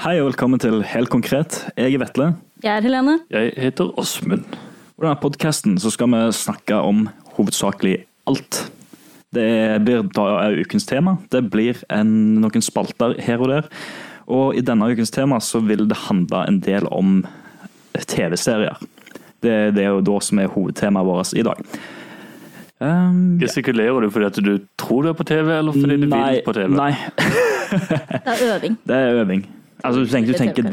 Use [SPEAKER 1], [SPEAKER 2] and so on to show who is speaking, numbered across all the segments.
[SPEAKER 1] Hei og velkommen til Helt konkret. Jeg er Vetle.
[SPEAKER 2] Jeg er Helene.
[SPEAKER 3] Jeg heter Åsmund.
[SPEAKER 1] Og I denne podkasten skal vi snakke om hovedsakelig alt. Det blir da er ukens tema. Det blir en, noen spalter her og der. Og i denne ukens tema så vil det handle en del om TV-serier. Det, det er jo da som er hovedtemaet vårt i dag. Um,
[SPEAKER 3] Gestikulerer du fordi at du tror du er på TV, eller fordi du vil på TV?
[SPEAKER 1] nei,
[SPEAKER 2] Det er øving.
[SPEAKER 1] det er øving. Altså, du tenker, du tenker det.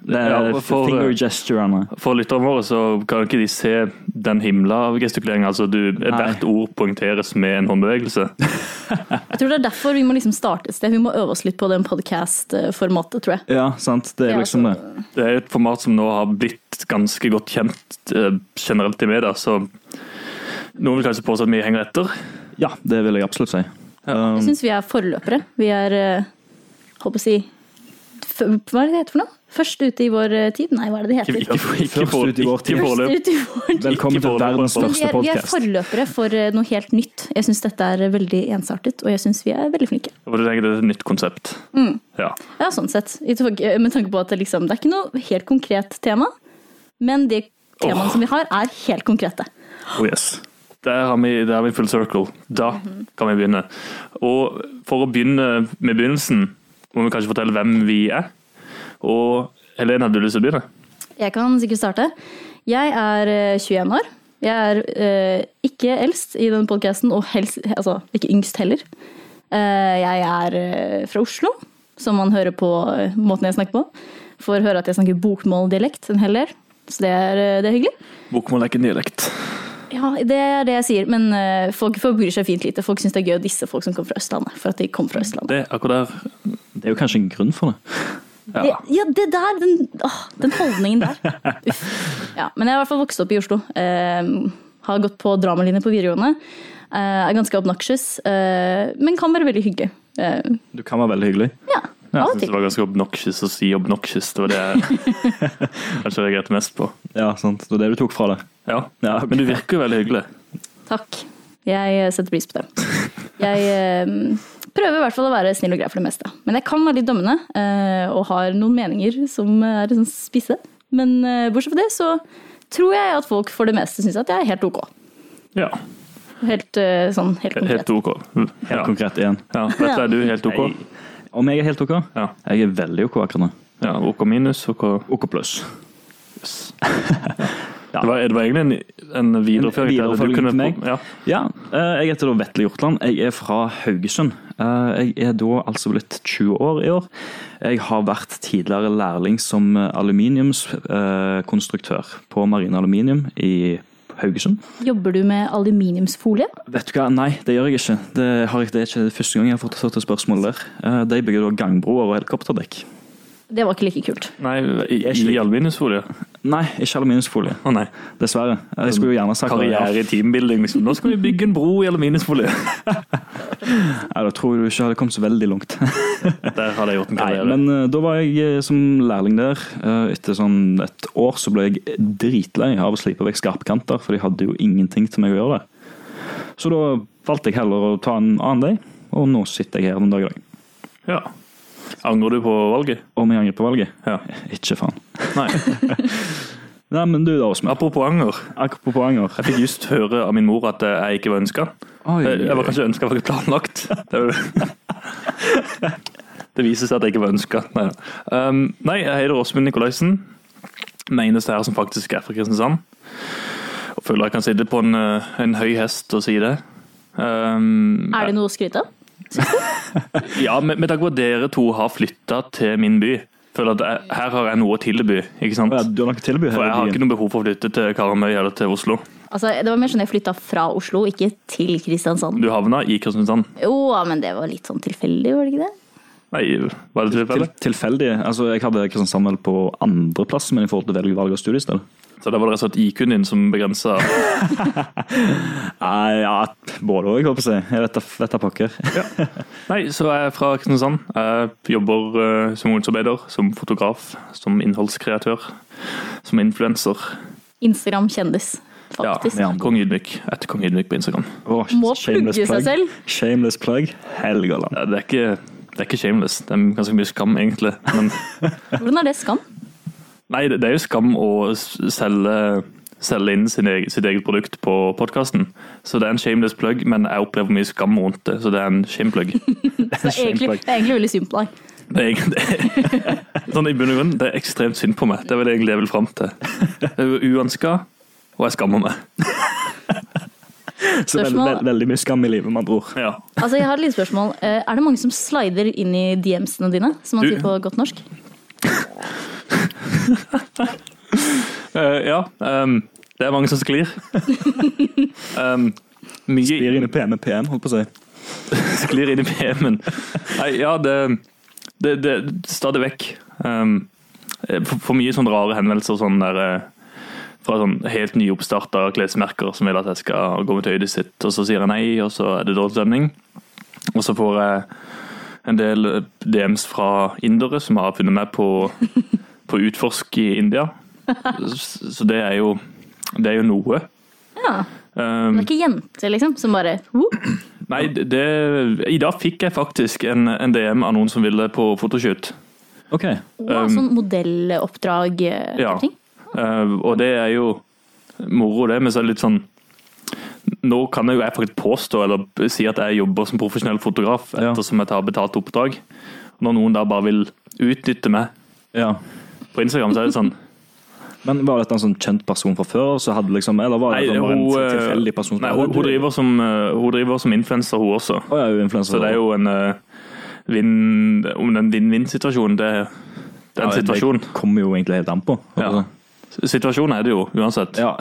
[SPEAKER 1] Det er
[SPEAKER 3] Ja, for-
[SPEAKER 1] finger gesturene.
[SPEAKER 3] For lytterne våre så kan ikke de se den himla av gestikulering. Altså du, hvert ord poengteres med en håndbevegelse.
[SPEAKER 2] Jeg tror det er derfor vi må liksom starte et sted. Vi må øve oss litt på den podcast-formatet, tror jeg. altså,
[SPEAKER 1] Ja, sant. Det er liksom det.
[SPEAKER 3] Det er et format som nå har blitt ganske godt kjent eh, generelt i media, så noen vil kanskje påstå at vi henger etter.
[SPEAKER 1] Ja, det vil jeg absolutt si.
[SPEAKER 2] Jeg syns vi er forløpere. Vi er eh, håper å si f- Hva er det det heter for noe? Først ute i vår eh, tid? Nei, hva er det det
[SPEAKER 3] Ikke,
[SPEAKER 2] heter?
[SPEAKER 3] ikke, ikke, ikke,
[SPEAKER 1] Først ut i vår tid.
[SPEAKER 3] ikke foreløp.
[SPEAKER 2] Først ute i vår tid.
[SPEAKER 1] Velkommen til
[SPEAKER 3] Ikke bare-
[SPEAKER 1] verdens
[SPEAKER 2] Men Vi
[SPEAKER 1] største
[SPEAKER 2] er, vi er
[SPEAKER 1] podkast.
[SPEAKER 2] forløpere for eh, noe helt nytt. Jeg syns dette er eh, veldig ensartet, og jeg syns vi er veldig flinke.
[SPEAKER 3] Og du tenker det er et nytt konsept. Ja.
[SPEAKER 2] Ja, sånn sett. I tog- eh, Med tanke på at det liksom, det er ikke noe helt konkret tema, men de temaene som vi har, er helt konkrete.
[SPEAKER 3] Oh yes. Der har, vi, der har vi full circle. Da kan vi begynne. Og for å begynne med begynnelsen, må vi kanskje fortelle hvem vi er. Og Helene, hadde du lyst til å begynne?
[SPEAKER 2] Jeg kan sikkert starte. Jeg er eh, 21 år. Jeg er eh, ikke eldst i denne podkasten, og helst, altså, ikke yngst heller. Eh, jeg er eh, fra Oslo, som man hører på eh, måten jeg snakker på. Får høre at jeg snakker bokmåldialekt en hel del, så det er, eh, det er hyggelig.
[SPEAKER 3] Bokmål er ikke en dialekt.
[SPEAKER 2] Ja, det er det jeg sier, men eh, folk forbryr seg fint lite. Folk syns det er gøy å disse folk som kommer fra Østlandet, for at de kommer fra Østlandet.
[SPEAKER 3] Det er akkurat der.
[SPEAKER 1] Det er jo kanskje en grunn for det.
[SPEAKER 2] Det, ja, det der, den, åh, den holdningen der. Uff. Ja, men jeg har i hvert fall vokst opp i Oslo. Eh, har gått på dramalinje på videregående. Eh, er ganske obnoxious, eh, men kan være veldig hyggelig. Eh,
[SPEAKER 1] Du kan være veldig hyggelig.
[SPEAKER 2] ja, av
[SPEAKER 3] Jeg
[SPEAKER 2] og
[SPEAKER 3] synes det
[SPEAKER 2] til.
[SPEAKER 3] var ganske obnoxious å si obnoxious. Det var det jeg kanskje reagerte mest på.
[SPEAKER 1] Ja, sant. Det var det du tok fra det.
[SPEAKER 3] Ja.
[SPEAKER 1] Ja, ok.
[SPEAKER 3] Men du virker jo veldig hyggelig.
[SPEAKER 2] Takk. Jeg eh, setter pris på det. Jeg eh, prøver i hvert fall å være snill og grei for det meste. Men jeg kan være litt dømmende eh, og har noen meninger som er litt sånn spisse. Men eh, bortsett fra det så tror jeg at folk for det meste syns at jeg er helt ok.
[SPEAKER 3] Ja.
[SPEAKER 2] Helt, eh, sånn, helt konkret.
[SPEAKER 3] Helt ok.
[SPEAKER 1] Helt
[SPEAKER 3] Ja.
[SPEAKER 1] konkret igjen.
[SPEAKER 3] Ja. Vet du, er du helt ok?
[SPEAKER 1] Jeg- Om jeg er helt OK?
[SPEAKER 3] Ja.
[SPEAKER 1] Jeg er veldig OK akkurat nå.
[SPEAKER 3] ja. Ok minus, ok
[SPEAKER 1] OK pluss.
[SPEAKER 3] Det var, det var egentlig en, en videreføring. til det. Du
[SPEAKER 1] Videreføring
[SPEAKER 3] kunne-
[SPEAKER 1] til meg.
[SPEAKER 3] Ja.
[SPEAKER 1] Ja, eh, jeg heter da Vetle Hjortland. Jeg er fra Haugesund. Eh, Jeg er da altså blitt 20 år i år. Jeg har vært tidligere lærling som aluminiumskonstruktør på Marine Aluminium i Haugesund.
[SPEAKER 2] Jobber du med aluminiumsfolie?
[SPEAKER 1] Vet du hva, nei, det gjør jeg ikke. Det, har jeg, det er ikke det første gang jeg har fått fått et spørsmål der. Eh, De bygger da gangbroer og helikopterdekk.
[SPEAKER 2] Det var ikke like kult.
[SPEAKER 3] Nei, i,
[SPEAKER 1] Jeg sliter.
[SPEAKER 3] i aluminiumsfolie.
[SPEAKER 1] Nei, ikke aluminiumsfolie.
[SPEAKER 3] Å nei.
[SPEAKER 1] Dessverre. Jeg skulle jo gjerne sagt
[SPEAKER 3] Karriere i teambuilding, liksom. Nå skal vi bygge en bro i aluminiumsfolie.
[SPEAKER 1] Ja, da tror jeg du ikke hadde kommet så veldig langt.
[SPEAKER 3] Der hadde jeg gjort en
[SPEAKER 1] Nei,
[SPEAKER 3] karriere.
[SPEAKER 1] men eh, da var jeg eh, som lærling der. Eh, Etter sånn et år så ble jeg dritlei av å slipe vekk skarpkanter, for de hadde jo ingenting til meg å gjøre det. Så da valgte jeg heller å ta en annen vei, og nå sitter jeg her den dag i dag.
[SPEAKER 3] ja. Angrer du på valget?
[SPEAKER 1] Om jeg angrer på valget?
[SPEAKER 3] Ja.
[SPEAKER 1] Ikke faen.
[SPEAKER 3] Nei.
[SPEAKER 1] Nei, men du da, Åsmund.
[SPEAKER 3] Apropos anger.
[SPEAKER 1] Apropos anger.
[SPEAKER 3] Jeg fikk just høre av min mor at jeg ikke var ønska.
[SPEAKER 1] Oi.
[SPEAKER 3] Eh, Jeg jeg var kanskje ønska, var ikke planlagt. Det, er jo- det viser seg at jeg ikke var ønska. Nei, da. um, nei, jeg heter Åsmund Nikolaisen. Den eneste her som faktisk er fra Kristiansand. Og føler jeg kan sitte på en, eh, en høy hest og si det. Um,
[SPEAKER 2] Er det noe å skryte av?
[SPEAKER 3] Ja, med, med tanke på at dere to har flytta til min by. Føler at jeg, her har jeg noe å tilby, ikke sant?
[SPEAKER 1] Ja, du har noe tilbud
[SPEAKER 3] For
[SPEAKER 1] her
[SPEAKER 3] jeg har
[SPEAKER 1] i
[SPEAKER 3] ikke
[SPEAKER 1] byen.
[SPEAKER 3] noe behov for å flytte til Karmøy eller til Oslo.
[SPEAKER 2] Altså, det var mer sånn jeg flytta fra Oslo, ikke til Kristiansand.
[SPEAKER 3] Du havna i Kristiansand.
[SPEAKER 2] Jo, men det var litt sånn tilfeldig, var det ikke det?
[SPEAKER 3] Nei, var det
[SPEAKER 1] Til,
[SPEAKER 3] tilfelle?
[SPEAKER 1] tilfeldig. Altså, jeg hadde Kristiansand vel på andreplass, men i forhold til velge valg av studiested.
[SPEAKER 3] Så det var det rett og slett IQ-en din som begrensa
[SPEAKER 1] Nei, ja, både òg, håper jeg. Jeg vet da- vet da pokker.
[SPEAKER 3] Nei, så er jeg fra Kristiansand. Jeg jobber eh, som ungdomsarbeider, som fotograf, som innholdskreatør, som influenser.
[SPEAKER 2] Instagram-kjendis, faktisk.
[SPEAKER 1] ja.
[SPEAKER 3] Ja, Kong Ydmyk. Etter Kong Ydmyk på Instagram.
[SPEAKER 1] Åh,
[SPEAKER 2] Må
[SPEAKER 1] shameless
[SPEAKER 2] plugge seg
[SPEAKER 1] plug.
[SPEAKER 2] selv.
[SPEAKER 1] Shameless plug. Helgeland.
[SPEAKER 3] Ja, Det er ikke Det er ikke shameless. Det er ganske mye skam, egentlig. Men,
[SPEAKER 2] Hvordan er det skam?
[SPEAKER 3] nei, det det er jo skam å s- selge, selge inn sin egen, sitt eget produkt på podkasten. Så det er en shameless plug, men jeg opplever mye skam rundt det, så det er en shame plug.
[SPEAKER 2] Det er egentlig, det er egentlig veldig synd på deg.
[SPEAKER 3] Det er egentlig sånn, I bunn og grunn, det er ekstremt synd på meg. Det er vel egentlig det jeg vil fram til. Jeg er uønska, og jeg skammer meg.
[SPEAKER 1] Så veldig,
[SPEAKER 2] Spørsmål-
[SPEAKER 1] veldig, veldig mye skam i livet, med andre ord.
[SPEAKER 3] Ja.
[SPEAKER 2] Altså, jeg har et lite spørsmål. Eh, Er det mange som slider inn i DMs-ene dine, som man
[SPEAKER 3] Du-
[SPEAKER 2] sier på godt norsk?
[SPEAKER 3] Eh, ja ehm, det er mange som sklir. Ehm, mye
[SPEAKER 1] Blir inne PM med PM, holdt på å si.
[SPEAKER 3] sklir inn i PM-en. Nei, ja, det, det, det Stadig vekk. Ehm, for, for mye sånne rare henvendelser sånn der, eh, fra sånn helt nyoppstarta klesmerker som vil at jeg skal gå med til øyet sitt, og så sier jeg nei, og så er det dårlig stemning. Og så får jeg en del DMs fra indere som har funnet meg på, på Utforsk i India. Så så det er jo, det er jo noe.
[SPEAKER 2] Ja.
[SPEAKER 3] Um,
[SPEAKER 2] Det er ikke jenter, liksom, som bare «Whoop».
[SPEAKER 3] Nei, det, det- i dag fikk jeg faktisk en, en DM av noen som ville på fotoshoot.
[SPEAKER 1] Ok.
[SPEAKER 2] Wow,
[SPEAKER 3] Um,
[SPEAKER 2] Sånn modelloppdrag eh,
[SPEAKER 3] Ja.
[SPEAKER 2] type ting.
[SPEAKER 3] Eh, og det er jo moro, det, men så er det litt sånn Nå kan jeg jo jeg faktisk påstå eller si at jeg jobber som profesjonell fotograf
[SPEAKER 1] Ja.
[SPEAKER 3] ettersom jeg tar betalt oppdrag. Når noen da bare vil utnytte meg
[SPEAKER 1] Ja.
[SPEAKER 3] på Instagram, så er det sånn
[SPEAKER 1] Men var dette en sånn kjent person fra før? Så hadde liksom, eller var det
[SPEAKER 3] Nei,
[SPEAKER 1] sånn bare
[SPEAKER 3] hun,
[SPEAKER 1] en
[SPEAKER 3] eh,
[SPEAKER 1] tilfeldig person? som
[SPEAKER 3] nei,
[SPEAKER 1] bare,
[SPEAKER 3] hun, hun
[SPEAKER 1] «Du-
[SPEAKER 3] driver som, eh, hun driver som influenser, hun også.
[SPEAKER 1] Å ja, hun er influenser.
[SPEAKER 3] Så det er jo en eh, vinn Om den vinn-vinn-situasjonen, det, det er en situasjon.
[SPEAKER 1] Det kommer jo egentlig helt an på.
[SPEAKER 3] Ja. Altså, Situasjonen er det jo, uansett.
[SPEAKER 1] ja.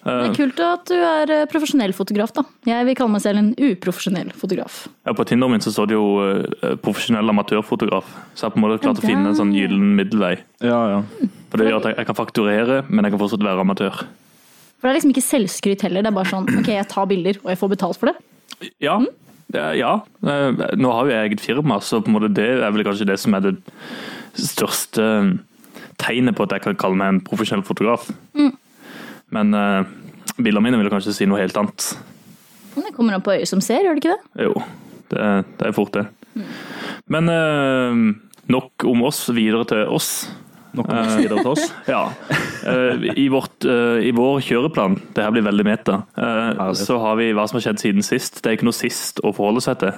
[SPEAKER 2] Det er kult at du er eh, profesjonell fotograf, da. Jeg vil kalle meg selv en uprofesjonell fotograf.
[SPEAKER 3] Ja, på Tinderen min så står det jo eh, profesjonell amatørfotograf. Så jeg har på en måte klart å
[SPEAKER 2] Ja, der.
[SPEAKER 3] finne en sånn gyllen middelvei.
[SPEAKER 1] ja, ja.
[SPEAKER 3] For det gjør at jeg, jeg kan fakturere, men jeg kan fortsatt være amatør.
[SPEAKER 2] For det er liksom ikke selvskryt heller, det er bare sånn ok, jeg tar bilder, og jeg får betalt for det.
[SPEAKER 3] Ja. det er- ja. Eh, Nå har jo jeg eget firma, så på en måte det er vel kanskje det som er det største eh, tegnet på at jeg kan kalle meg en profesjonell fotograf. Men eh, bildene mine vil kanskje si noe helt annet.
[SPEAKER 2] Men det kommer an på øyet som ser, gjør det ikke det?
[SPEAKER 3] Jo, det, er- det er fort det. Men eh, nok om oss, videre til oss.
[SPEAKER 1] Nå kommer vi videre til oss.
[SPEAKER 3] Ja. Eh, I, vårt, eh, I vår kjøreplan, det her blir veldig meta, eh,
[SPEAKER 1] Herlig.
[SPEAKER 3] så har vi hva som har skjedd siden sist. Det er ikke noe sist å forholde seg til.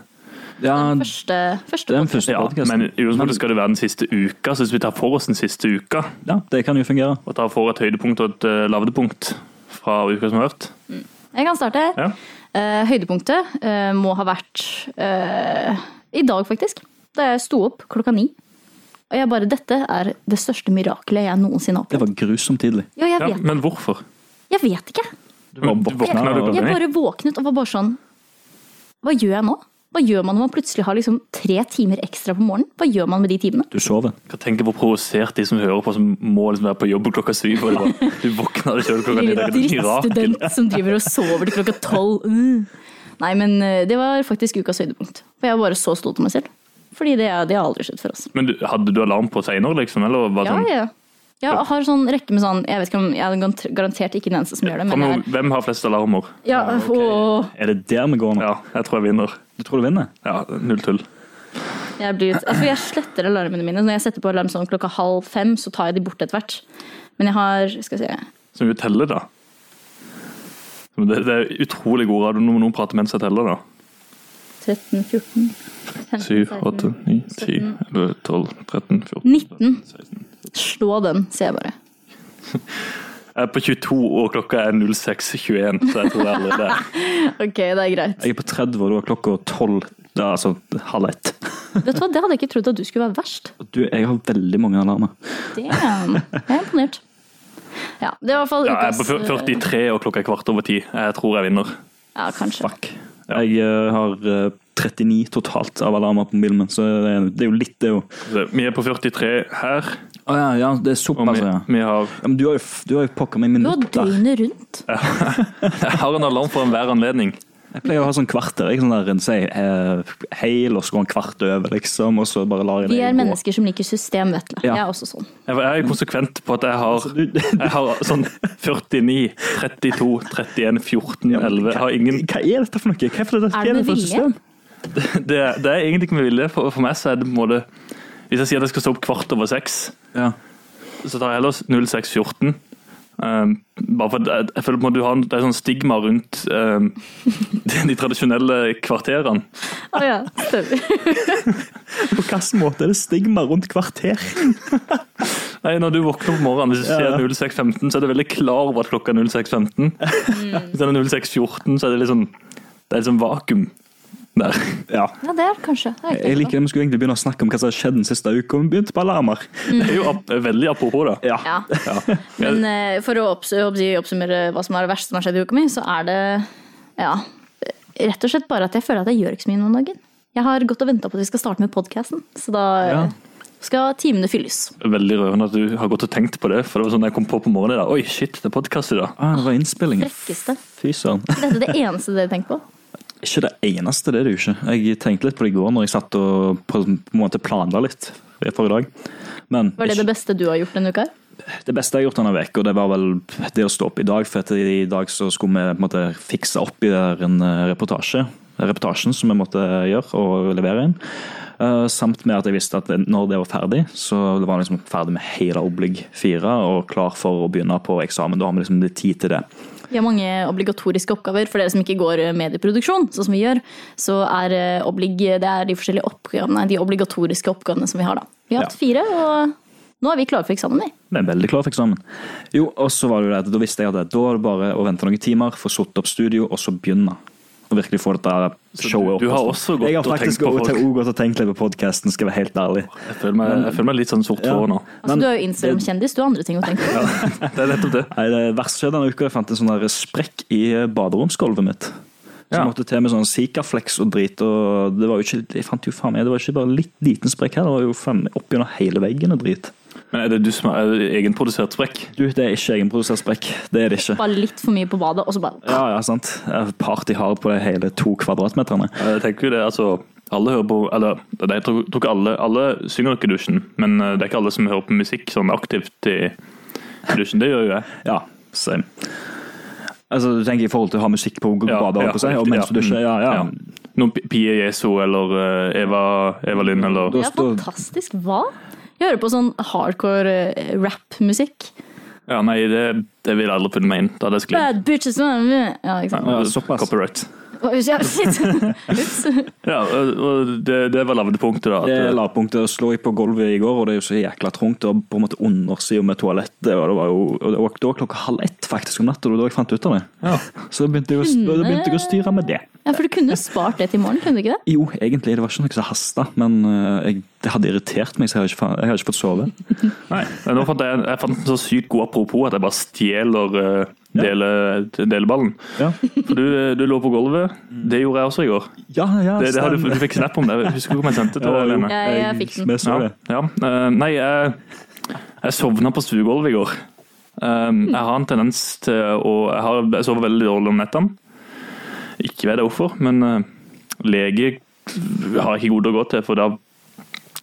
[SPEAKER 1] Ja,
[SPEAKER 2] Første, første
[SPEAKER 1] det er den
[SPEAKER 2] podcast.
[SPEAKER 1] første
[SPEAKER 3] Ja,
[SPEAKER 1] podcasten.
[SPEAKER 3] men i utgangspunktet skal det være den siste uka, så hvis vi tar for oss den siste uka,
[SPEAKER 1] Ja, det kan jo fungere.
[SPEAKER 3] og tar for et høydepunkt og et eh, lavdepunkt fra uka som har vært
[SPEAKER 2] Jeg kan starte.
[SPEAKER 3] ja.
[SPEAKER 2] Eh, høydepunktet eh, må ha vært eh, i dag, faktisk. Da jeg sto opp klokka ni. Og jeg bare Dette er det største mirakelet jeg noensinne har
[SPEAKER 1] Det
[SPEAKER 2] opplevd.
[SPEAKER 1] var grusomt tidlig.
[SPEAKER 2] Ja, jeg
[SPEAKER 3] ja,
[SPEAKER 2] vet,
[SPEAKER 3] Men hvorfor?
[SPEAKER 2] jeg vet ikke.
[SPEAKER 1] Du var
[SPEAKER 3] Du
[SPEAKER 1] våkna
[SPEAKER 3] våkna du
[SPEAKER 1] og-
[SPEAKER 2] Jeg
[SPEAKER 3] klokka ni?
[SPEAKER 2] bare våknet og var bare sånn Hva gjør jeg nå? Hva gjør man når man plutselig har liksom tre timer ekstra på morgenen? Hva gjør man med de timene?
[SPEAKER 1] Du sover.
[SPEAKER 3] Jeg tenker hvor provosert de som hører på, som må liksom være på jobb klokka syv. Og det bare, du våkner deg sjøl klokka ni. Det er et mirakel.
[SPEAKER 2] Drittstudent som driver og sover til klokka tolv. Mm. Nei, men eh, det var faktisk ukas høydepunkt. For jeg var bare så stolt av meg selv. Fordi det, er- det har aldri skjedd før. Altså.
[SPEAKER 3] Men du, hadde du alarm på seinere, liksom? Eller var det
[SPEAKER 2] Ja,
[SPEAKER 3] sånn,
[SPEAKER 2] ja. Jeg har sånn rekke med sånn Jeg vet ikke om jeg er garant- garantert ikke den eneste som gjør det, men
[SPEAKER 3] Kom Ah,
[SPEAKER 2] jeg
[SPEAKER 3] nå, Hvem har flest alarmer?
[SPEAKER 2] er ja, åh,
[SPEAKER 1] Er det der vi går nå?
[SPEAKER 3] Ja, jeg tror jeg vinner.
[SPEAKER 1] Du tror du vinner?
[SPEAKER 3] Ja, null tull.
[SPEAKER 2] jeg, blir litt, altså jeg sletter alarmene mine. Når jeg setter på alarm sånn klokka halv fem, så tar jeg de bort etter hvert. Men jeg har Skal vi se.
[SPEAKER 3] Så vi teller, da. Men Det, det er utrolig god radio når noen prater mens jeg teller, da.
[SPEAKER 2] 13, 14, 15,
[SPEAKER 3] 7, 8,
[SPEAKER 2] 16
[SPEAKER 3] 9, 10, 11, 12, 13, 14
[SPEAKER 2] 19.
[SPEAKER 3] 16.
[SPEAKER 2] Slå den, sier jeg bare.
[SPEAKER 3] Jeg er på 22, og klokka er 06.21, så jeg tror jeg allerede er
[SPEAKER 2] Ok, det er greit.
[SPEAKER 1] Jeg er på 30, og det var klokka 12. Det er altså halv ett.
[SPEAKER 2] Vet du hva, Det hadde jeg ikke trodd at du skulle være verst.
[SPEAKER 1] Du, jeg har veldig mange alarmer.
[SPEAKER 2] Damn. Jeg er imponert. Ja, det var i hvert fall
[SPEAKER 3] ja, Jeg er på
[SPEAKER 2] ukas
[SPEAKER 3] fyr- 43, og klokka er kvart over ti. Jeg tror jeg vinner.
[SPEAKER 2] Ja, kanskje.
[SPEAKER 1] Fuck. Jeg eh, har eh, 39 totalt av alarmer på mobilen min, så det er, det er jo litt, det er jo.
[SPEAKER 3] Så Vi er på 43 her,
[SPEAKER 1] Å ja, ja, det er
[SPEAKER 3] og
[SPEAKER 1] såpass,
[SPEAKER 3] vi,
[SPEAKER 1] ja.
[SPEAKER 3] vi har
[SPEAKER 1] ja men du har jo, f- du har jo pokker meg
[SPEAKER 2] Du var
[SPEAKER 1] minutter.
[SPEAKER 2] døgnet rundt.
[SPEAKER 3] Jeg har en alarm for enhver anledning.
[SPEAKER 1] Jeg pleier å ha sånn kvarter. Ikke sånn der en sier eh, heil, og så går en kvart over, liksom, og så bare lar jeg
[SPEAKER 2] Vi
[SPEAKER 1] det
[SPEAKER 2] er mennesker som liker system, vet du.
[SPEAKER 1] Ja.
[SPEAKER 2] Jeg er også sånn.
[SPEAKER 3] Jeg jeg er konsekvent på at jeg har, jeg har sånn 49, 32, 31, 14, 11. Jeg har ingen
[SPEAKER 1] Hva er dette for noe? Hva er, for, hva
[SPEAKER 2] Er det
[SPEAKER 1] er
[SPEAKER 2] med
[SPEAKER 1] det for et
[SPEAKER 2] vilje?
[SPEAKER 1] system?
[SPEAKER 3] Det, det er egentlig ikke med vilje. For, for meg så er det på en måte Hvis jeg sier at jeg skal stå opp kvart over seks,
[SPEAKER 1] Ja.
[SPEAKER 3] så tar jeg heller 0614. Um, bare for, jeg, jeg føler på en måte du har en, Det er sånn stigma rundt um, de, de tradisjonelle kvarterene.
[SPEAKER 2] Å ja, stemmer.
[SPEAKER 1] På hvilken måte er det stigma rundt kvarter?
[SPEAKER 3] Nei, Når du våkner på morgenen, hvis du
[SPEAKER 1] Ja, ja.
[SPEAKER 3] sier 0615, så er du veldig klar over at klokka er 0615. Hvis det er 0614, så er det litt sånn Det er litt sånn vakuum der.
[SPEAKER 1] Ja.
[SPEAKER 2] Ja, det er det kanskje. Det er ikke
[SPEAKER 1] Jeg liker det, Vi skulle egentlig begynne å snakke om hva som har skjedd den siste uka. og Vi begynte på alarmer.
[SPEAKER 3] Det er jo ap veldig apropos, da.
[SPEAKER 1] Ja.
[SPEAKER 2] Ja. Men eh, for å opps oppsi- oppsummere hva som er det verste som har skjedd i uka mi, så er det ja, rett og slett bare at jeg føler at jeg gjør ikke så mye noen dagen. Jeg har gått og venta på at vi skal starte med podkasten, så da
[SPEAKER 1] Ja.
[SPEAKER 2] skal timene fylles.
[SPEAKER 3] Veldig rørende at du har gått og tenkt på det. For det var sånn jeg kom på på morgenen i dag. Oi, shit, det er podkast i dag.
[SPEAKER 1] Ah, det var innspillingen.
[SPEAKER 2] Frekkeste.
[SPEAKER 1] Fy søren.
[SPEAKER 2] Dette er det eneste dere tenker på.
[SPEAKER 1] Ikke det eneste, det er det jo ikke. Jeg tenkte litt på det i går når jeg satt og på, på en måte planla litt for i dag. Men
[SPEAKER 2] Var det det beste du har gjort denne uka? her?
[SPEAKER 1] det beste jeg har gjort denne veka, og det var vel det å stå opp i dag. For at i dag så skulle vi på en måte fikse opp i der en eh, reportasje. Reportasjen som vi måtte gjøre og levere inn. Eh, samt med at jeg visste at når det var ferdig, så var jeg liksom ferdig med hele oblig fire og klar for å begynne på eksamen. Da har vi liksom litt tid til det.
[SPEAKER 2] Vi har mange obligatoriske oppgaver. For dere som ikke går medieproduksjon, sånn som vi gjør, så er eh, oblig, det er de forskjellige oppgavene, nei, de obligatoriske oppgavene som vi har da. Vi har hatt fire, og nå er vi klare for eksamen, vi.
[SPEAKER 1] Vi er veldig klare for eksamen. Jo, og så var det jo det at da visste jeg at da er det bare å vente noen timer, få satt opp studio, og så begynne. Og virkelig få dette showet opp.
[SPEAKER 3] du har også gått
[SPEAKER 1] jeg har
[SPEAKER 3] og tenkt
[SPEAKER 1] faktisk
[SPEAKER 3] på folk.
[SPEAKER 1] også gått og tenkt litt på podkasten, skal jeg være helt ærlig.
[SPEAKER 3] Jeg føler meg, jeg føler meg litt sånn sort for nå.
[SPEAKER 2] Altså, du er jo Instagram-kjendis, du har andre ting å tenke på.
[SPEAKER 3] Det er nettopp det.
[SPEAKER 1] Nei, det verste skjedde denne uka. Jeg fant en sånn der sprekk i eh, baderomsgulvet mitt. Så
[SPEAKER 3] Ja.
[SPEAKER 1] jeg måtte til med sånn Sikaflex og drit. og det var jo ikke, Jeg fant jo faen meg, det var ikke bare litt liten sprekk her, det var jo faen meg opp gjennom hele veggen og drit.
[SPEAKER 3] Men er det du som er egenprodusert sprekk?
[SPEAKER 1] Du, det er ikke egenprodusert sprekk. Det er det ikke.
[SPEAKER 2] Bare litt for mye på badet, og så bare
[SPEAKER 1] Ja, ja, sant. Jeg Party hard på de hele to kvadratmeterne.
[SPEAKER 3] Jeg tenker jo det, altså alle hører på, eller nei, jeg tror tror ikke alle, alle synger nok i dusjen, men eh, det er ikke alle som hører på musikk sånn aktivt i i dusjen. Det gjør jo jeg.
[SPEAKER 1] Ja, same. Altså, du tenker i forhold til å ha musikk på og
[SPEAKER 3] Ja,
[SPEAKER 1] bade
[SPEAKER 3] ja,
[SPEAKER 1] på seg, og
[SPEAKER 3] riktig,
[SPEAKER 1] mens du dusjer, ja, ja.
[SPEAKER 3] Mm, ja. Noen P- Pia Jeso eller eh, Eva, Eva Lynn eller
[SPEAKER 1] Da
[SPEAKER 2] Ja,
[SPEAKER 1] står-
[SPEAKER 2] fantastisk. Hva? Jeg hører på sånn hardcore eh, rap-musikk.
[SPEAKER 3] Ja, nei, det, det vil jeg aldri finne meg inn. Da hadde jeg sklidd.
[SPEAKER 2] Bad bitches Ja, ikke sant.
[SPEAKER 1] Ja, såpass.
[SPEAKER 3] Copyright.
[SPEAKER 2] Hva hvis jeg- Shit. Ups.
[SPEAKER 3] Ja, og og det, det var lavdepunktet, da.
[SPEAKER 1] Det
[SPEAKER 3] At, eh,
[SPEAKER 1] lavpunktet slo jeg på gulvet i går, og det er jo så jækla trangt. Og på en måte undersida med toalettet, og det var jo og det var- det var klokka halv ett faktisk om natta. Det var da jeg fant ut av det.
[SPEAKER 3] ja.
[SPEAKER 1] Så da begynte jeg å, da begynte jeg å styre med det.
[SPEAKER 2] Ja, for du kunne spart det til i morgen, kunne du ikke det?
[SPEAKER 1] Jo, egentlig, det var ikke noe som hasta, men eh, jeg, det hadde irritert meg, så jeg har ikke, fa- jeg har ikke fått sove.
[SPEAKER 3] Nei, men nå fant jeg, jeg fant en så sykt god apropos at jeg bare stjeler eh, dele, deleballen.
[SPEAKER 1] Ja,
[SPEAKER 3] For du, eh, du lå på gulvet.
[SPEAKER 1] Mm.
[SPEAKER 3] Det gjorde jeg også i går.
[SPEAKER 1] ja, ja
[SPEAKER 3] Det, det har du,
[SPEAKER 1] stemmer.
[SPEAKER 3] du fikk snap om det. Husker du hvor jeg sendte det? til
[SPEAKER 1] Ja, jo.
[SPEAKER 3] Lene?
[SPEAKER 2] Jeg, jeg fikk den.
[SPEAKER 1] Vi så
[SPEAKER 3] Ja,
[SPEAKER 1] det.
[SPEAKER 3] ja. Eh, Nei, jeg, jeg sovna på stuegulvet i går. Um, jeg har en tendens til å Jeg, har, jeg sover veldig dårlig om nettene. Ikke vet jeg hvorfor, men eh, lege har jeg ikke gode å gå til, for da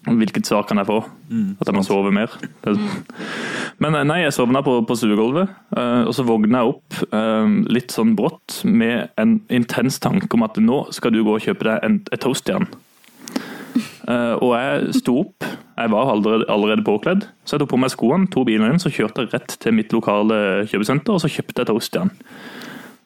[SPEAKER 3] Hvilket svar kan jeg få? At jeg må sove mer? Det- Men eh, nei, jeg sovna på, på stuegulvet, eh, og så våkna jeg opp eh, litt sånn brått med en intens tanke om at nå skal du gå og kjøpe deg en, et toastjern. Eh, og jeg sto opp, jeg var allerede, allerede påkledd, så jeg tok på meg skoene, to biler inn, så kjørte jeg rett til mitt lokale kjøpesenter, og så kjøpte jeg toast igjen.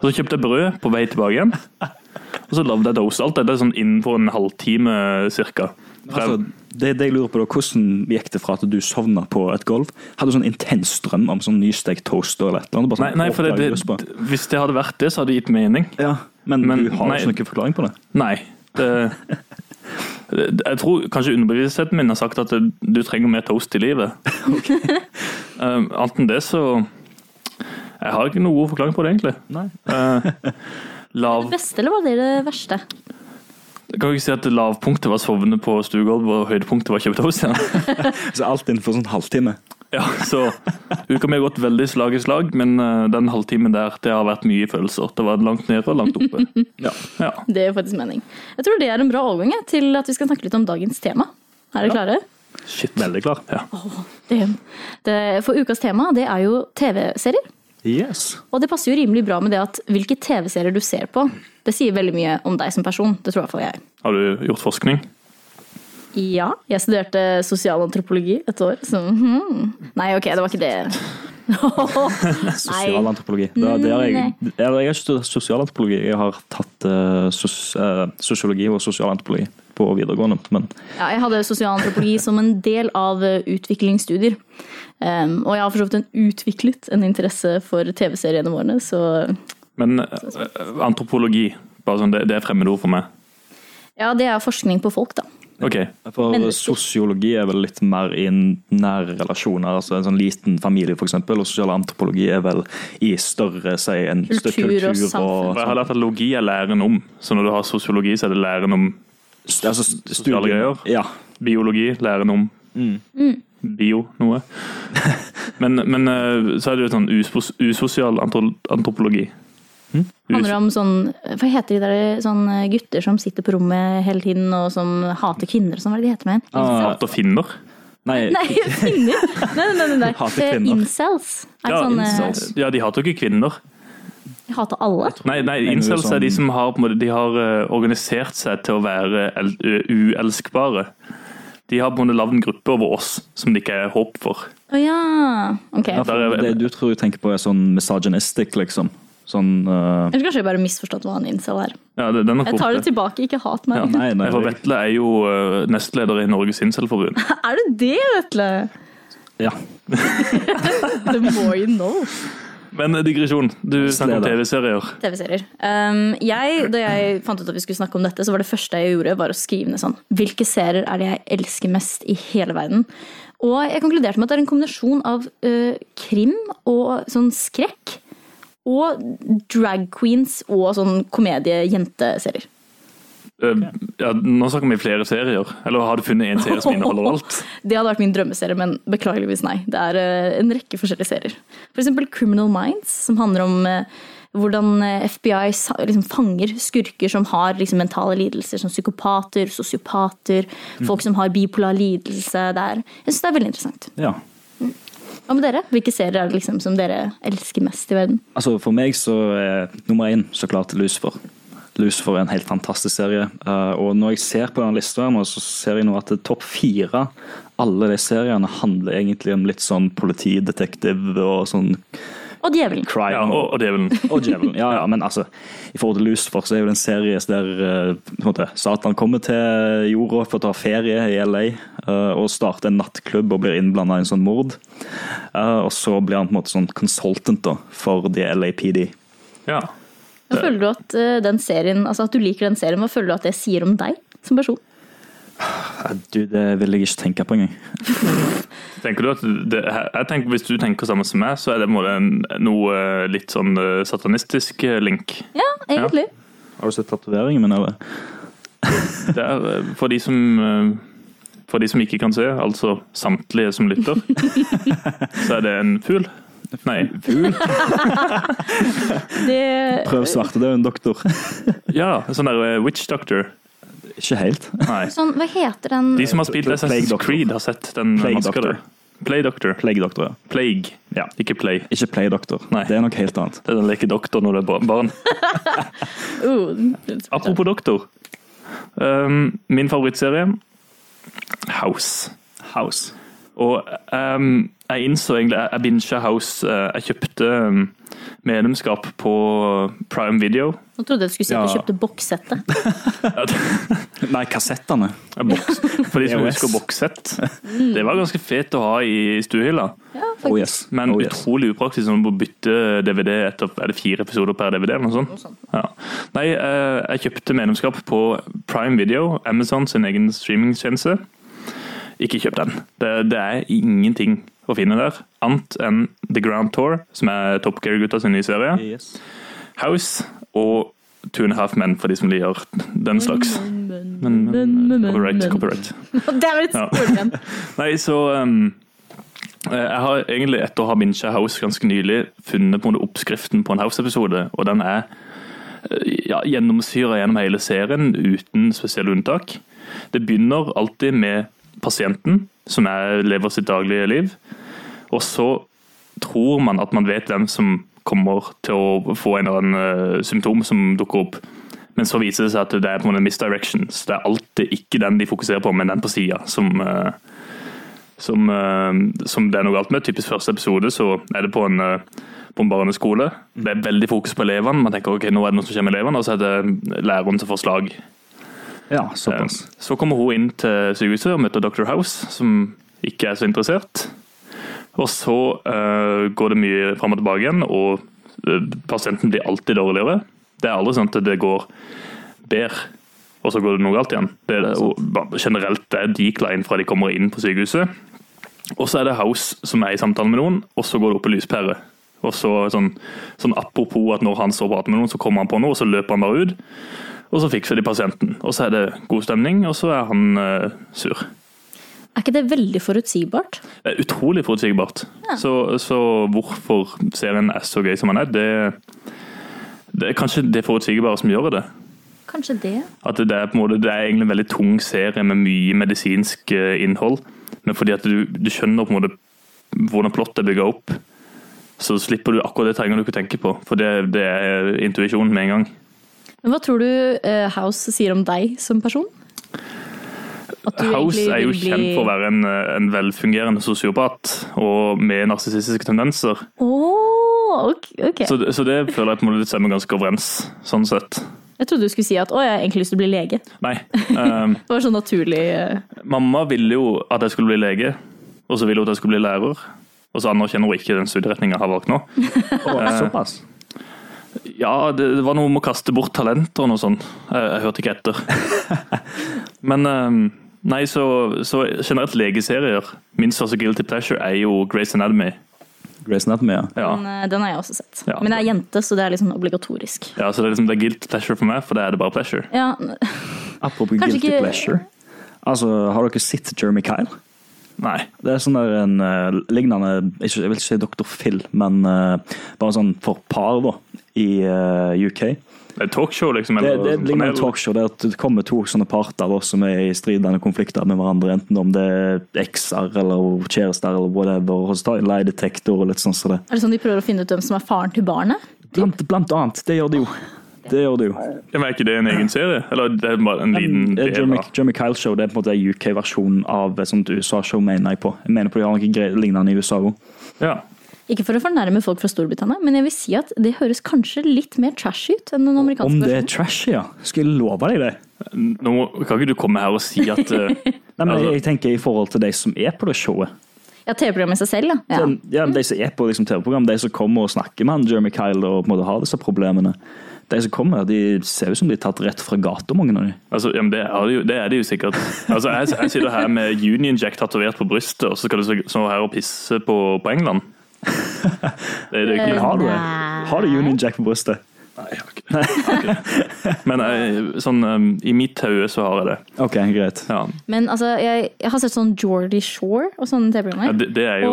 [SPEAKER 3] Og så kjøpte jeg brød på vei tilbake igjen, og så lagde jeg toast. Alt dette er sånn innenfor en halvtime cirka. For jeg-
[SPEAKER 1] Altså, det, det jeg lurer på da, Hvordan gikk det fra at du sovna på et gulv? Hadde du sånn intens drøm om sånn nystekt toast eller et eller annet? Bare
[SPEAKER 3] nei,
[SPEAKER 1] sånn,
[SPEAKER 3] nei, for det,
[SPEAKER 1] «Åh, jeg har lyst på».
[SPEAKER 3] det, hvis det hadde vært det, så hadde det gitt mening.
[SPEAKER 1] ja, men,
[SPEAKER 3] Men,
[SPEAKER 1] du har
[SPEAKER 3] nei.
[SPEAKER 1] ikke noen forklaring på det?
[SPEAKER 3] Nei. Det, det- jeg tror kanskje underbevisstheten min har sagt at det- du trenger mer toast i livet. um, annet enn det, så Jeg har ikke noe forklaring på det, egentlig.
[SPEAKER 1] Nei.
[SPEAKER 3] Eh, lav,
[SPEAKER 2] Det beste, eller var det det verste?
[SPEAKER 3] jeg kan jo ikke si at lavpunktet var sovne på stuegulvet, og høydepunktet var kjøpt hos igjen.
[SPEAKER 1] Så alt innenfor sånn halvtime?
[SPEAKER 3] Ja, så uka mi har gått veldig slag i slag, men eh, den halvtimen der, det har vært mye følelser. Det var langt nede og langt oppe.
[SPEAKER 1] Ja.
[SPEAKER 3] Ja.
[SPEAKER 2] Det gir faktisk mening. Jeg tror det er en bra overgang jeg, til at vi skal snakke litt om dagens tema. Er dere klare?
[SPEAKER 3] Shit. Veldig klar. Ja.
[SPEAKER 2] Det, det, for ukas tema det er jo TV-serier.
[SPEAKER 1] Yes.
[SPEAKER 2] Og det passer jo rimelig bra med det at hvilke TV-serier du ser på, det sier veldig mye om deg som person. Det tror i hvert fall jeg.
[SPEAKER 3] Har du gjort forskning?
[SPEAKER 2] Ja, jeg studerte sosialantropologi et år, så mhm. Nei, ok, det var ikke det. Nei.
[SPEAKER 1] Sosialantropologi. Det, det har jeg, jeg, jeg har ikke studert sosialantropologi, jeg har tatt eh, sos, eh, sosiologi og sosialantropologi på videregående. Men
[SPEAKER 2] Ja, jeg hadde sosialantropologi som en del av eh, utviklingsstudier. Um, og jeg har for så vidt en utviklet en interesse for TV-seriene våre, så
[SPEAKER 3] Men eh, antropologi, bare sånn, det, det er fremmedord for meg.
[SPEAKER 2] ja, det er forskning på folk, da.
[SPEAKER 3] Ok,
[SPEAKER 1] for
[SPEAKER 2] Men-
[SPEAKER 1] sosiologi er vel litt mer i nære relasjoner, altså en sånn liten familie f.eks., og sosialantropologi er vel i større, si, en større
[SPEAKER 2] Kultur og
[SPEAKER 1] kultur og,
[SPEAKER 2] samfunn.
[SPEAKER 3] For jeg har lært at logi er læren om. Så når du har sosiologi, så er det læren om
[SPEAKER 1] st- altså,
[SPEAKER 3] Sosiale greier.
[SPEAKER 1] Ja.
[SPEAKER 3] biologi, læren om
[SPEAKER 2] Mm.
[SPEAKER 3] bio noe. Men, men eh, så er det jo sånn uspos, usosial antro- antropologi. Us-
[SPEAKER 2] Handler om sånn Hva heter de der sånn gutter som sitter på rommet hele tiden og som hater kvinner og sånn? Hva er det de heter med en?
[SPEAKER 1] Ah,
[SPEAKER 3] Hater finner.
[SPEAKER 1] nei,
[SPEAKER 2] Nei, kvinner! Nei, nei, nei. nei.
[SPEAKER 1] Hater
[SPEAKER 2] Eh,
[SPEAKER 1] kvinner.
[SPEAKER 2] Incels. Er det
[SPEAKER 3] Ja,
[SPEAKER 2] sånn, eh,
[SPEAKER 1] incels.
[SPEAKER 3] Ja, de hater jo ikke kvinner.
[SPEAKER 2] Jeg hater alle.
[SPEAKER 3] Nei, nei
[SPEAKER 1] Mener du
[SPEAKER 3] incels er de
[SPEAKER 1] sånn-
[SPEAKER 3] som har, på en måte, de har eh, organisert seg til å være el ø- uelskbare. De har på en måte lagd en gruppe over oss som det ikke er håp for.
[SPEAKER 2] Å ja. Ok.
[SPEAKER 1] ja, for det du tror jeg tenker på er sånn misogynistic, liksom. Sånn eh,
[SPEAKER 2] Eller kanskje jeg bare misforstått hva en incel er.
[SPEAKER 3] Ja, det, den er
[SPEAKER 2] Jeg tar det
[SPEAKER 3] korte.
[SPEAKER 2] tilbake, ikke hat meg.
[SPEAKER 3] Ja,
[SPEAKER 1] Nei, nei.
[SPEAKER 3] For Vetle er jo eh, nestleder i Norges Incel-forbund.
[SPEAKER 2] Er det det, Vetle?
[SPEAKER 1] Ja.
[SPEAKER 2] The more you know.
[SPEAKER 3] Men eh, digresjon. Du snakker om
[SPEAKER 1] Nestleder.
[SPEAKER 3] TV-serier.
[SPEAKER 2] TV-serier. Um, jeg, da jeg fant ut at vi skulle snakke om dette, så var det første jeg gjorde, var å skrive ned sånn Hvilke serier er det jeg elsker mest i hele verden? Og jeg konkluderte med at det er en kombinasjon av øh, krim og sånn skrekk. Og drag queens og sånn komedie-jenteserier.
[SPEAKER 3] Eh, ja, nå snakker vi flere serier. Eller har du funnet en serie som inneholder alt?
[SPEAKER 2] Det hadde vært min drømmeserie, men beklageligvis nei. Det er eh, en rekke forskjellige serier. For eksempel Criminal Minds, som handler om eh, hvordan eh, FBI sa- liksom fanger skurker som har liksom mentale lidelser, som psykopater, sosiopater,
[SPEAKER 3] Mm.
[SPEAKER 2] folk som har bipolar lidelse. Det er, jeg syns det er veldig interessant.
[SPEAKER 1] ja.
[SPEAKER 2] Hva med dere? Hvilke serier er det liksom som dere elsker mest i verden?
[SPEAKER 1] Altså For meg så er nummer én så klart Lucifer. Lucifer er en helt fantastisk serie. Eh, og når jeg ser på den lista, her nå, så ser jeg nå at det er topp fire alle de seriene handler egentlig om litt sånn politidetektiv og sånn
[SPEAKER 2] Og Djevelen.
[SPEAKER 1] crime.
[SPEAKER 3] Ja, og, og Djevelen.
[SPEAKER 1] Og djevelen. Ja, ja, men altså, i forhold til Lucifer så er jo det en serie der eh, på en måte, Satan kommer til jorda for å ta ferie i LA eh, og starte en nattklubb og blir innblanda i en sånn mord. Eh, og så blir han på en måte sånn consultant da, for the LAPD.
[SPEAKER 3] Ja.
[SPEAKER 2] Hva føler du at, eh, den serien, altså at du liker den serien, hva føler du at det sier om deg som person?
[SPEAKER 1] Eh, Du, det vil jeg ikke tenke på engang.
[SPEAKER 3] Tenker du at det, jeg tenker, Hvis du tenker samme som meg, så er det på en måte en- noe eh, litt sånn eh, satanistisk eh, link.
[SPEAKER 2] Ja, egentlig.
[SPEAKER 1] Har du sett tatoveringen min, eller?
[SPEAKER 3] Det er eh, for de som eh, For de som ikke kan se, altså samtlige som lytter, så er det en fugl. Nei.
[SPEAKER 2] Det
[SPEAKER 1] Prøv svartedauden, doktor.
[SPEAKER 3] Ja, en sånn der eh, witch doctor.
[SPEAKER 1] Ikke helt.
[SPEAKER 3] Nei.
[SPEAKER 2] Sånn, hva heter den
[SPEAKER 3] De som har spilt
[SPEAKER 1] Plague
[SPEAKER 3] Assassin's
[SPEAKER 1] Doctor.
[SPEAKER 3] Creed, har sett den
[SPEAKER 1] Plague
[SPEAKER 3] maska
[SPEAKER 1] Doctor.
[SPEAKER 3] der. Play Doctor.
[SPEAKER 1] Plegedoktor, ja.
[SPEAKER 3] Plague,
[SPEAKER 1] ja.
[SPEAKER 3] ikke Play.
[SPEAKER 1] Ikke pleydoktor.
[SPEAKER 3] Nei.
[SPEAKER 1] Det er noe helt annet.
[SPEAKER 3] Det er den leker doktor når det er bar- barn.
[SPEAKER 2] Uh,
[SPEAKER 3] Apropos doktor. Um, min favorittserie House.
[SPEAKER 1] House.
[SPEAKER 3] Og um, jeg innså egentlig Jeg, jeg binget House. eh, Jeg kjøpte um, medlemskap på Prime Video.
[SPEAKER 2] Nå trodde jeg du skulle si at du
[SPEAKER 1] Ja.
[SPEAKER 2] kjøpte bokssettet.
[SPEAKER 1] Nei, kassettene.
[SPEAKER 3] Eh, Boks, for de som
[SPEAKER 1] EOS.
[SPEAKER 3] husker bokssett. Det var ganske fet å ha i stuehylla,
[SPEAKER 1] Oh yes.
[SPEAKER 3] men
[SPEAKER 1] oh, yes.
[SPEAKER 3] utrolig upraktisk sånn å bytte DVD etter er det fire episoder per DVD. eller noe sånt. Ja. Nei, eh, jeg kjøpte medlemskap på Prime Video, Amazon sin egen streamingtjeneste. Ikke kjøp den. Det, det er ingenting å finne der, annet enn The Grand Tour, som er Top Gear-gutta sin nye serie,
[SPEAKER 1] Yes.
[SPEAKER 3] House og Two and a Half Men, for de som liker den slags. Men, men, copyright, copyright.
[SPEAKER 2] Damn it!
[SPEAKER 3] Ja.
[SPEAKER 2] Spør igjen.
[SPEAKER 3] Nei, så um, eh, jeg har egentlig etter å ha bincha House ganske nylig funnet på en måte oppskriften på en House-episode, og den er eh, ja, gjennomsyra gjennom hele serien uten spesielle unntak. Det begynner alltid med pasienten, som er, lever sitt daglige liv, og så tror man at man vet hvem som kommer til å få en eller annen eh, symptom som dukker opp. Men så viser det seg at det er på en måte en misdirection. Så det er alltid ikke den de fokuserer på, men den på sida som, eh, som, eh, som det er noe galt med. Typisk første episode så er det på en, eh, på en barneskole. Det er veldig fokus på elevene. Man tenker ok, nå er det noe som skjer med elevene, og så er det læreren som får slag.
[SPEAKER 1] Ja, såpass.
[SPEAKER 3] Eh, Så kommer hun inn til sykehuset og møter Dr. House, som ikke er så interessert. Og så eh, går det mye fram og tilbake igjen, og eh, pasienten blir alltid dårligere. Det er aldri sånn at det går bedre, og så går det noe galt igjen. Det er det, og ba- generelt det er decline fra de kommer inn på sykehuset. Og så er det House som er i samtale med noen, og så går det opp i lyspære. Og så sånn, sånn apropos at når han står og prater med noen, så kommer han på noe, og så løper han bare ut. Og så fikser de pasienten. Og så er det god stemning, og så er han eh, sur.
[SPEAKER 2] Er ikke det veldig forutsigbart?
[SPEAKER 3] Det er utrolig forutsigbart. Så, så hvorfor serien er så gøy som den er, det, det er kanskje det forutsigbare som gjør det.
[SPEAKER 2] Kanskje det.
[SPEAKER 3] At det er, på en måte, det er egentlig en veldig tung serie med mye medisinsk eh, innhold. Men fordi at du, du skjønner på en måte hvordan plottet er bygget opp, så slipper du akkurat det trenger du ikke tenke på. For det, det er intuisjonen med en gang.
[SPEAKER 2] Men hva tror du eh, House sier om deg som person? At du
[SPEAKER 3] House
[SPEAKER 2] egentlig
[SPEAKER 3] er jo
[SPEAKER 2] vil bli-
[SPEAKER 3] kjent for å være en, en velfungerende sosiopat og med narsissistiske tendenser.
[SPEAKER 2] Åh, ok. ok.
[SPEAKER 3] Så, så det føler jeg på en måte det stemmer ganske overens, sånn sett.
[SPEAKER 2] Jeg trodde du skulle si at å, jeg har egentlig lyst til å bli lege.
[SPEAKER 3] Nei. ehm,
[SPEAKER 2] Det var sånn naturlig eh,
[SPEAKER 3] mamma ville jo at jeg skulle bli lege, og så ville hun at jeg skulle bli lærer. Og så anerkjenner hun ikke den studieretninga jeg har valgt nå.
[SPEAKER 1] Å, såpass.
[SPEAKER 3] Ja, det, det var noe om å kaste bort talenter og noe sånt. Jeg, jeg hørte ikke etter. Men ehm, nei, så, så generelt legeserier. Min største guilty pleasure er jo Grace Anatomy.
[SPEAKER 1] Grey's Anatomy, ja.
[SPEAKER 3] Ja.
[SPEAKER 2] men, eh, Den har jeg også sett.
[SPEAKER 3] Ja.
[SPEAKER 2] Men jeg er jente, så det er liksom obligatorisk.
[SPEAKER 3] Ja, så det er liksom det er guilt pleasure for meg, for da er det bare pleasure.
[SPEAKER 2] Ja,
[SPEAKER 1] Apropos
[SPEAKER 2] Kanskje
[SPEAKER 1] guilty
[SPEAKER 2] ikke-
[SPEAKER 1] pleasure. Altså, Har dere sett Jeremy Kyle?
[SPEAKER 3] Nei.
[SPEAKER 1] Det er sånn der en eh, lignende ikke, Jeg vil ikke si Dr. Phil, men eh, bare sånn for par da, i eh, UK.
[SPEAKER 3] Det er talkshow, liksom.
[SPEAKER 1] Det, det er et
[SPEAKER 3] sånn
[SPEAKER 1] lignende
[SPEAKER 3] panel.
[SPEAKER 1] talkshow der det kommer to sånne parter da, som er i stridende konflikter med hverandre, enten om det er ekser eller kjærester eller whatever. Og så tar de leiedetektor og litt sånn som det.
[SPEAKER 2] Er det sånn de prøver å finne ut hvem som er faren til barnet?
[SPEAKER 1] Blant, blant annet. Det gjør det jo. Det gjør det jo.
[SPEAKER 3] Ja, men er ikke det en egen serie? Eller det er bare en liten
[SPEAKER 1] Det er
[SPEAKER 3] del
[SPEAKER 1] eh, Jeremy,
[SPEAKER 3] av
[SPEAKER 1] Jeremy Kyle Show det er på en måte UK-versjonen av et sånt USA-show, mener jeg på. Jeg mener på de har noe gre- lignende i USA òg.
[SPEAKER 3] Ja.
[SPEAKER 2] Ikke for å fornærme folk fra Storbritannia, men jeg vil si at det høres kanskje litt mer trash ut enn den
[SPEAKER 1] Om
[SPEAKER 2] amerikanske
[SPEAKER 1] det er
[SPEAKER 2] versjonen.
[SPEAKER 1] trashy, ja. Skal jeg love deg det?
[SPEAKER 3] Nå kan ikke du komme her og si at eh,
[SPEAKER 1] Nei, men
[SPEAKER 3] Altså-
[SPEAKER 1] jeg tenker i forhold til de som er på det showet.
[SPEAKER 2] Ja, TV-programmet i seg selv, ja. ja.
[SPEAKER 3] Sånn-
[SPEAKER 1] Den, ja, de som er på liksom, TV-program, de som kommer og snakker med han Jeremy Kyle og på en måte har disse problemene. De som kommer, de ser ut som de er tatt rett fra gata, mange av de.
[SPEAKER 2] Eh,
[SPEAKER 3] altså, ja, men det, er det, jo, det er det jo sikkert. Altså, jeg, jeg sitter her med Union Jack tatovert på brystet, og så skal du så, så her og pisse på, på England? Det er det jo
[SPEAKER 1] Men
[SPEAKER 3] ikke.
[SPEAKER 1] har du det?
[SPEAKER 2] Nei.
[SPEAKER 1] Har du Union Jack på brystet?
[SPEAKER 3] Men jeg, sånn, eh, i mitt hode så har jeg det.
[SPEAKER 1] Ok, greit.
[SPEAKER 3] Ja.
[SPEAKER 2] Men altså, jeg, jeg har sett sånn Jordy Shore og sånne
[SPEAKER 3] Ja,
[SPEAKER 2] TV-programmer.
[SPEAKER 3] det, det er jo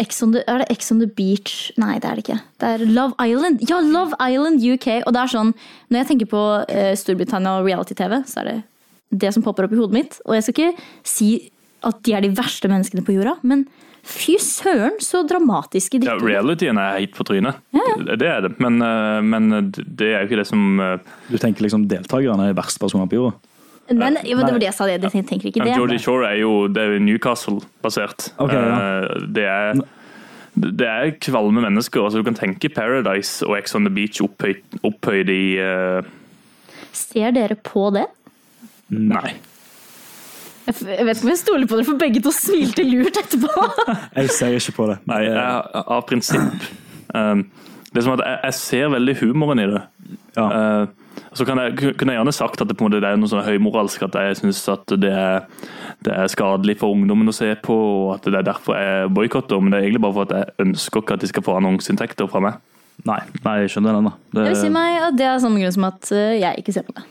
[SPEAKER 2] Ex on the, er det Ex on the Beach? Nei, det er det ikke. Det er Love Island. Ja, Love Island UK. Og det er sånn, når jeg tenker på eh, Storbritannia og reality-TV, så er det det som popper opp i hodet mitt. Og jeg skal ikke si at de er de verste menneskene på jorda, men fy søren så dramatiske de
[SPEAKER 3] Ja,
[SPEAKER 2] to er.
[SPEAKER 3] realityen er helt på trynet. Det det er det. Men, eh, men det er jo ikke det som eh,
[SPEAKER 1] Du tenker liksom deltakerne er verste personer på jorda?
[SPEAKER 2] Nei, nei, jo, det var det jeg sa, jeg tenker ikke
[SPEAKER 3] Men Geordie
[SPEAKER 2] det.
[SPEAKER 3] Shore er jo, det er jo Newcastle-basert.
[SPEAKER 1] Ok, ja.
[SPEAKER 3] Eh, Det er det er kvalme mennesker. altså Du kan tenke Paradise og Ex on the Beach opphøyd, opphøyd i eh,
[SPEAKER 2] Ser dere på det?
[SPEAKER 3] Nei.
[SPEAKER 2] Jeg f- jeg vet ikke om jeg stoler på dere, for begge to smilte lurt etterpå.
[SPEAKER 1] Jeg ser ikke på det.
[SPEAKER 3] Nei, jeg, Av prinsipp. Um, det er som at jeg, jeg ser veldig humoren i det.
[SPEAKER 1] Ja.
[SPEAKER 3] Eh, så kan jeg, kunne jeg gjerne sagt at det, på en måte, det er noe sånn høymoralsk, at jeg syns at det er, det er skadelig for ungdommen å se på, og at det er derfor jeg boikotter. Men det er egentlig bare for at jeg ønsker ikke at de skal få annonseinntekter fra meg.
[SPEAKER 1] Nei, nei, jeg skjønner den, da. Det-
[SPEAKER 2] Jeg vil si meg at det er samme grunn som at eh, jeg ikke ser på det.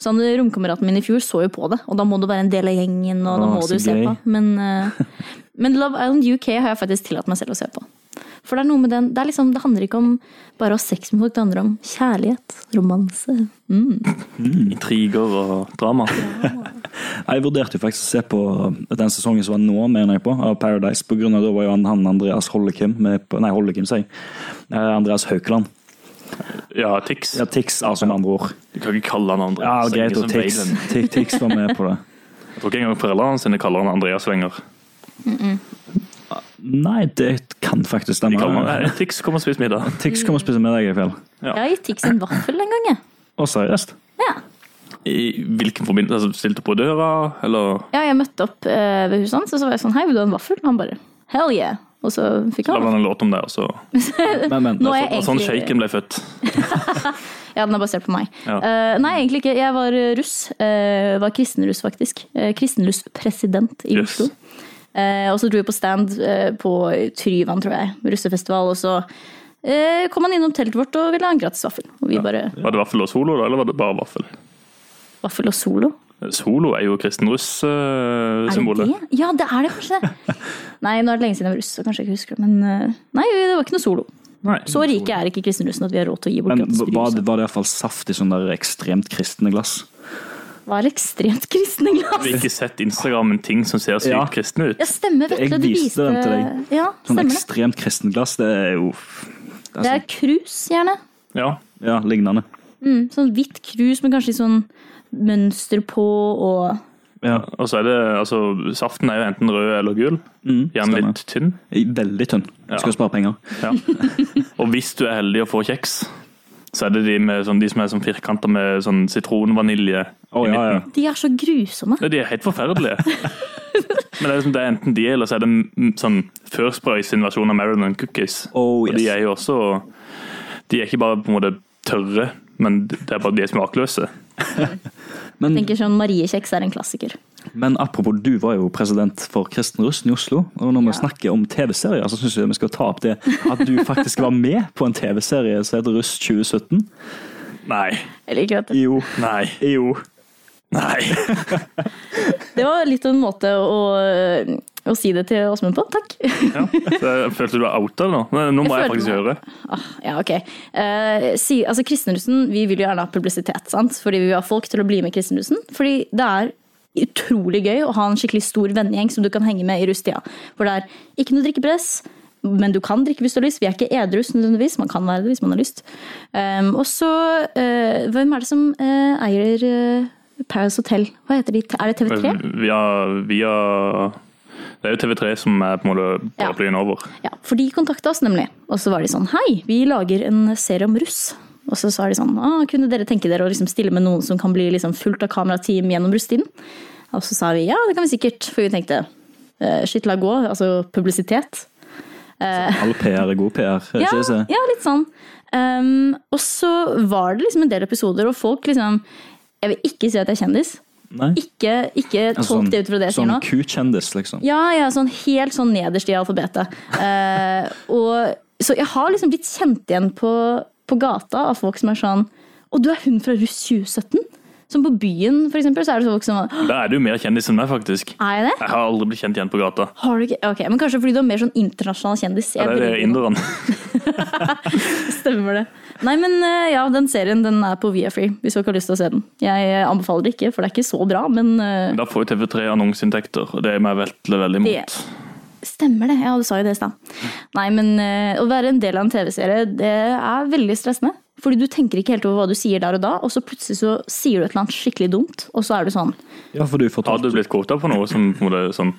[SPEAKER 2] Sånn, Romkameraten min i fjor så jo på det, og da må du være en del av gjengen. og da
[SPEAKER 1] Å,
[SPEAKER 2] må
[SPEAKER 1] så
[SPEAKER 2] du se
[SPEAKER 1] gøy.
[SPEAKER 2] på. Men, eh, men Love Island UK har jeg faktisk tillatt meg selv å se på. For det er noe med den, det, er liksom, det handler ikke om bare å ha sex med folk, det handler om kjærlighet, romanse.
[SPEAKER 3] Intriger og drama.
[SPEAKER 1] Jeg vurderte jo faktisk å se på um, den sesongen som var nå, mener jeg på, av Paradise. På grunn av da var jo han, han Andreas Hollekim med på, Nei, Hollekim, sier jeg. Eh, Andreas Haukeland
[SPEAKER 3] Ja, Tix.
[SPEAKER 1] Ja, Tix, altså med andre ord.
[SPEAKER 3] Du kan ikke kalle han
[SPEAKER 1] Ja,
[SPEAKER 3] Andreas.
[SPEAKER 1] greit,
[SPEAKER 3] Enger
[SPEAKER 1] og
[SPEAKER 3] som
[SPEAKER 1] Tix,
[SPEAKER 3] Valen.
[SPEAKER 1] Tix, Tix var med på det.
[SPEAKER 3] Jeg tror ikke engang foreldrene sine kaller han Andreas Wenger.
[SPEAKER 1] Nei, det kan faktisk
[SPEAKER 3] De
[SPEAKER 1] stemme.
[SPEAKER 3] kaller han «Hei, Tix, kom og spis middag.
[SPEAKER 1] Tix kommer og spiser middag i kveld.
[SPEAKER 3] Ja.
[SPEAKER 2] Jeg har gitt Tix en vaffel en gang, jeg.
[SPEAKER 1] Og seriøst.
[SPEAKER 2] Ja.
[SPEAKER 3] I hvilken forbindelse? Altså, stilte på døra, eller
[SPEAKER 2] ja, jeg møtte opp eh, ved huset hans, og så var jeg sånn Hei, vil du ha en vaffel? Og han bare Hell yeah. Og så fikk
[SPEAKER 3] la
[SPEAKER 2] han
[SPEAKER 3] han en låt om det, og så
[SPEAKER 1] Men, men,
[SPEAKER 2] Nå er jeg
[SPEAKER 3] og sånn
[SPEAKER 2] egentlig-
[SPEAKER 3] shaken ble født.
[SPEAKER 2] Ja, den er basert på meg.
[SPEAKER 3] Ja.
[SPEAKER 2] Eh, nei, egentlig ikke. Jeg var eh, russ. Eh, var kristenruss, faktisk. Eh, Kristenrusspresident i
[SPEAKER 3] Yes.
[SPEAKER 2] Oslo. Eh, og så dro vi på stand eh, på Tryvann, tror jeg, russefestival. Og så eh, kom han innom teltet vårt og ville ha en gratis vaffel. Og vi bare
[SPEAKER 3] Var det vaffel og solo, da, eller var det bare vaffel?
[SPEAKER 2] Vaffel og solo?
[SPEAKER 3] Solo er jo kristenruss-symbolet.
[SPEAKER 2] Er det det? Ja, det er det kanskje det. Nei, nå er det lenge siden jeg var russ, så kanskje jeg ikke husker det. Men eh, nei, det var ikke noe solo.
[SPEAKER 3] Nei.
[SPEAKER 2] Så rike er ikke kristenrussen at vi har råd til å gi bort
[SPEAKER 1] men
[SPEAKER 2] gratis
[SPEAKER 1] var,
[SPEAKER 2] brus.
[SPEAKER 1] det- var det iallfall saft i sånne der ekstremt kristne glass?
[SPEAKER 2] Var ekstremt kristne
[SPEAKER 3] Har vi
[SPEAKER 2] glass.
[SPEAKER 3] ikke sett Instagram en ting som ser sykt
[SPEAKER 1] Ja.
[SPEAKER 3] kristne ut?
[SPEAKER 2] Ja, stemmer, vet
[SPEAKER 1] Jeg
[SPEAKER 2] du. Du
[SPEAKER 1] viste
[SPEAKER 2] viste
[SPEAKER 1] den til deg.
[SPEAKER 2] Ja,
[SPEAKER 1] Sånn
[SPEAKER 2] stemmer det.
[SPEAKER 1] ekstremt kristne glass, det er jo
[SPEAKER 2] Det
[SPEAKER 1] altså,
[SPEAKER 2] er krus, gjerne.
[SPEAKER 3] Ja.
[SPEAKER 1] Ja, lignende.
[SPEAKER 2] Mm, sånn hvitt krus med kanskje litt sånn mønster på og
[SPEAKER 1] Ja,
[SPEAKER 3] Og så er det, altså, Saften er jo enten rød eller gul. Gjerne
[SPEAKER 1] Mm, stemmer.
[SPEAKER 3] litt tynn.
[SPEAKER 1] Veldig tynn.
[SPEAKER 3] Ja.
[SPEAKER 1] Skal spare penger.
[SPEAKER 3] Ja. Og hvis du er heldig og får kjeks, så er det de, med, sånn, de som er sånn firkanta med sånn sitronvanilje
[SPEAKER 1] Å, ja,
[SPEAKER 3] i
[SPEAKER 1] ja.
[SPEAKER 3] midten.
[SPEAKER 2] De er så grusomme.
[SPEAKER 3] Ja, de er helt forferdelige. Men det er, liksom, det er enten de, eller så er det mm, sånn Fursprøy sin versjon av Maryland Cookies.
[SPEAKER 1] Oh,
[SPEAKER 3] Og de
[SPEAKER 1] yes.
[SPEAKER 3] er jo også De er ikke bare på en måte tørre, men det er bare de er smakløse.
[SPEAKER 1] Men,
[SPEAKER 2] Tenker sånn Mariekjeks er en klassiker.
[SPEAKER 1] men apropos, du var jo president for Kristenrussen i Oslo. Og når vi
[SPEAKER 2] Ja.
[SPEAKER 1] snakker om TV-serier, så syns jeg vi skal ta opp det at du faktisk var med på en TV-serie som heter Russ 2017.
[SPEAKER 3] Nei.
[SPEAKER 2] Jeg liker at
[SPEAKER 1] Jo.
[SPEAKER 3] Nei.
[SPEAKER 1] Jo.
[SPEAKER 3] Nei.
[SPEAKER 2] Det var litt en måte å, å si det til Åsmund på. Takk.
[SPEAKER 3] Ja. Så jeg følte du var outa nå. Nei, Nå må jeg,
[SPEAKER 2] Jeg føler
[SPEAKER 3] faktisk
[SPEAKER 2] meg-
[SPEAKER 3] høre.
[SPEAKER 2] Ah, ja, ok. Eh, si, altså, Kristenrussen vi vil jo gjerne ha publisitet, sant? fordi vi vil ha folk til å bli med i Kristenrussen. Fordi det er utrolig gøy å ha en skikkelig stor vennegjeng som du kan henge med i rusttida. For det er ikke noe drikkepress, men du kan drikke hvis du har lyst. Vi er ikke edrus nødvendigvis, man kan være det hvis man har lyst. Ehm, og så, eh, hvem er det som eh, eier eh, Paris Hotel? Hva heter de? Er det TV3?
[SPEAKER 3] Via, via Det er jo TV3 som er på en måte
[SPEAKER 2] Ja.
[SPEAKER 3] paraplyen over.
[SPEAKER 2] Ja, for de kontakta oss nemlig. Og så var de sånn Hei, vi lager en serie om russ. Og så sa de sånn ah, Kunne dere tenke dere å liksom stille med noen som kan bli liksom fullt av kamerateam gjennom russetiden? Og så sa vi ja, det kan vi sikkert. For vi tenkte eh, shit la gå. Altså publisitet.
[SPEAKER 1] All PR er god PR. er det
[SPEAKER 2] Ja,
[SPEAKER 1] ikke det?
[SPEAKER 2] ja litt sånn. Ehm, og så var det liksom en del episoder, og folk liksom Jeg vil ikke si at jeg er kjendis.
[SPEAKER 1] Nei?
[SPEAKER 2] Ikke, ikke tolk
[SPEAKER 1] Altså, sånn-
[SPEAKER 2] det ut fra det jeg sier nå.
[SPEAKER 1] Sånn ku-kjendis, liksom.
[SPEAKER 2] Ja, ja, sånn helt sånn nederst i alfabetet. Eh, og, så jeg har liksom blitt kjent igjen på, på gata av folk som er sånn Og du er hun fra Russ 2017? Som på byen, for eksempel, så er det folk som «Hå,
[SPEAKER 3] Da er du mer kjendis enn meg, faktisk.
[SPEAKER 2] Er jeg det?
[SPEAKER 3] Jeg har aldri blitt kjent igjen på gata.
[SPEAKER 2] Har du ikke? Ok, Men kanskje fordi du er mer sånn internasjonal kjendis. Jeg
[SPEAKER 3] Ja, det er
[SPEAKER 2] bryr meg ikke.
[SPEAKER 3] inderne.
[SPEAKER 2] Stemmer det. Nei, men eh, ja, den serien den er på Viafree, hvis folk har lyst til å se den. Jeg eh, anbefaler det ikke, for det er ikke så bra, men eh,
[SPEAKER 3] Da får jo TV3 annonseinntekter, og det er meg veldig, veldig imot.
[SPEAKER 2] Stemmer det. Ja, du sa jo det i stad. Nei, men eh, å være en del av en TV-serie, det er veldig stressende. Fordi du tenker ikke helt over hva du sier der og da, og så plutselig så sier du et eller annet skikkelig dumt, og så er du sånn
[SPEAKER 1] Ja, for du
[SPEAKER 3] Har du
[SPEAKER 1] fortalte
[SPEAKER 3] blitt kvota på noe som på en måte er sånn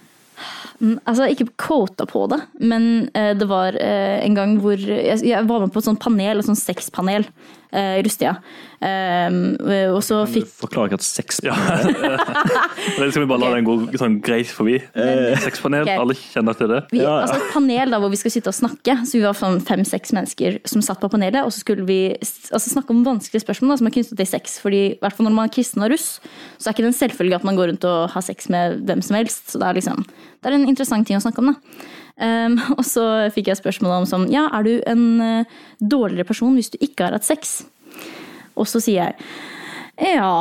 [SPEAKER 2] Altså, ikke quota på det, men eh, det var eh, en gang hvor jeg, jeg var med på et sånt panel, et sånt sexpanel eh, i Rustia. Ehm, og så
[SPEAKER 1] Du
[SPEAKER 2] fikk
[SPEAKER 1] forklarer ikke at sex
[SPEAKER 3] Ja. Det skal vi bare la
[SPEAKER 2] Ok.
[SPEAKER 3] den gå sånn greit forbi. Eh,
[SPEAKER 2] Men-
[SPEAKER 3] Sexpanel,
[SPEAKER 2] Ok.
[SPEAKER 3] alle kjenner til det.
[SPEAKER 2] vi,
[SPEAKER 1] Ja, ja.
[SPEAKER 2] Altså et panel da, hvor vi skal sitte og snakke. Så vi var sånn fem-seks mennesker som satt på panelet. Og så skulle vi s- altså, snakke om vanskelige spørsmål da, som er knyttet til sex. Fordi i hvert fall når man er kristen og russ, så er ikke det en selvfølge at man går rundt og har sex med hvem som helst. Så det er, liksom, det er en interessant ting å snakke om, da. Ehm, og så fikk jeg spørsmål om sånn Ja, er du en eh, dårligere person hvis du ikke har hatt sex? Og så sier jeg ja.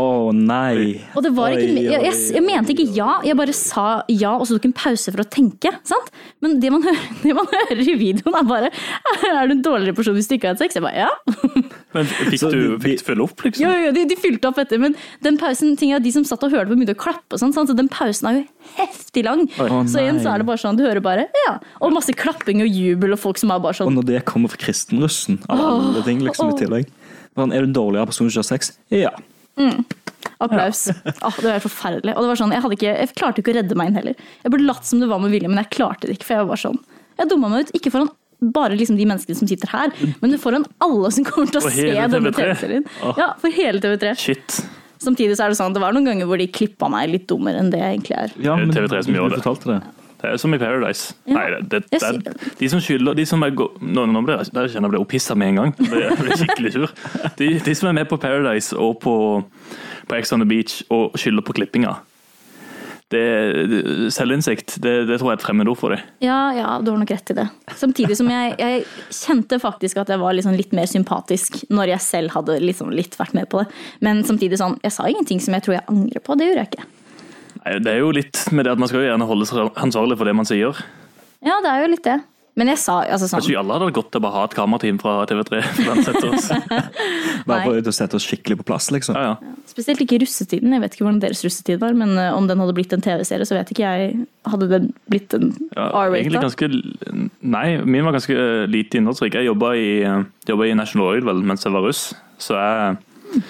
[SPEAKER 1] Å nei.
[SPEAKER 2] Og det var ikke,
[SPEAKER 1] Oi,
[SPEAKER 2] jeg, jeg,
[SPEAKER 1] oi,
[SPEAKER 2] jeg mente ikke ja, jeg bare sa ja, og så tok en pause for å tenke. sant? Men det man hører, det man hører i videoen, er bare Er du en dårligere person hvis du ikke har hatt sex? Jeg bare ja.
[SPEAKER 3] Men fikk
[SPEAKER 1] Så
[SPEAKER 3] du
[SPEAKER 1] de-
[SPEAKER 3] fikk du fylle opp,
[SPEAKER 2] Jo,
[SPEAKER 3] liksom?
[SPEAKER 2] jo, jo, de, de fylte opp etter, men den pausen, ting er at de som satt og hørte på, begynte å klappe og sånn, sant? så den pausen er jo heftig lang.
[SPEAKER 1] Å,
[SPEAKER 2] så igjen så
[SPEAKER 1] nei.
[SPEAKER 2] er det bare sånn, du hører bare, ja, og masse klapping og jubel og folk som er bare
[SPEAKER 1] Og
[SPEAKER 2] sånn,
[SPEAKER 1] når det kommer fra kristenrussen, av alle ting, liksom, i
[SPEAKER 2] åh.
[SPEAKER 1] tillegg. Sånn, er du en dårligere person som ikke har sex? Ja.
[SPEAKER 2] applaus. Åh, det var helt forferdelig. Og det var sånn, jeg, hadde ikke, jeg klarte ikke å redde meg inn heller. Jeg burde latt som det var med vilje, men jeg klarte det ikke, for jeg var bare sånn, jeg dumma meg ut, ikke foran bare liksom de menneskene som sitter her, men foran alle som kommer til å
[SPEAKER 3] For
[SPEAKER 2] se
[SPEAKER 3] hele
[SPEAKER 2] denne
[SPEAKER 3] TV3.
[SPEAKER 2] TV-serien.
[SPEAKER 3] Åh.
[SPEAKER 2] Ja, for hele TV3.
[SPEAKER 3] Shit.
[SPEAKER 2] Samtidig så er det sånn, det var noen ganger hvor de klippa meg litt dummere enn det jeg egentlig er.
[SPEAKER 1] ja
[SPEAKER 3] Det er TV3 som gjør
[SPEAKER 1] du
[SPEAKER 3] det.
[SPEAKER 1] fortalte det.
[SPEAKER 3] Det er som i Paradise.
[SPEAKER 2] Ja.
[SPEAKER 3] Nei, det, det,
[SPEAKER 2] Jeg
[SPEAKER 3] det,
[SPEAKER 2] sier
[SPEAKER 3] er- de som skylder de som er go Nå, nå ble jeg, der kjenner jeg ble opphissa med en gang. Jeg ble- Jeg ble skikkelig sur. De, de som er med på Paradise og på, på Ex on the Beach og skylder på klippinga. Det, det, selvinnsikt, det, det tror jeg er et fremmedord for dem.
[SPEAKER 2] Ja, ja, du har nok rett i det. Samtidig som jeg, jeg kjente faktisk at jeg var liksom litt mer sympatisk når jeg selv hadde liksom litt vært med på det. Men samtidig sånn, jeg sa ingenting som jeg tror jeg angrer på. Det gjorde jeg ikke.
[SPEAKER 3] Nei, Det er jo litt med det at man skal jo gjerne holde seg ansvarlig for det man sier.
[SPEAKER 2] Ja, det er jo litt det. Men jeg sa altså sånn
[SPEAKER 3] Kanskje vi alle hadde gått til å bare ha et kamerateam fra TV3. for den sett oss.
[SPEAKER 1] Bare
[SPEAKER 2] Nei.
[SPEAKER 1] for å sette oss skikkelig på plass, liksom.
[SPEAKER 3] Ja, ja.
[SPEAKER 2] sånn, Spesielt ikke russetiden. Jeg vet ikke hvordan deres russetid var, men eh, om den hadde blitt en TV-serie, så vet ikke jeg. Hadde den blitt en
[SPEAKER 3] Ja, egentlig
[SPEAKER 2] R-rata?
[SPEAKER 3] ganske Nei, min var ganske eh, lite innholdsrik. Jeg jobba i, eh, jobbet i National Oil vel, mens jeg var russ, så jeg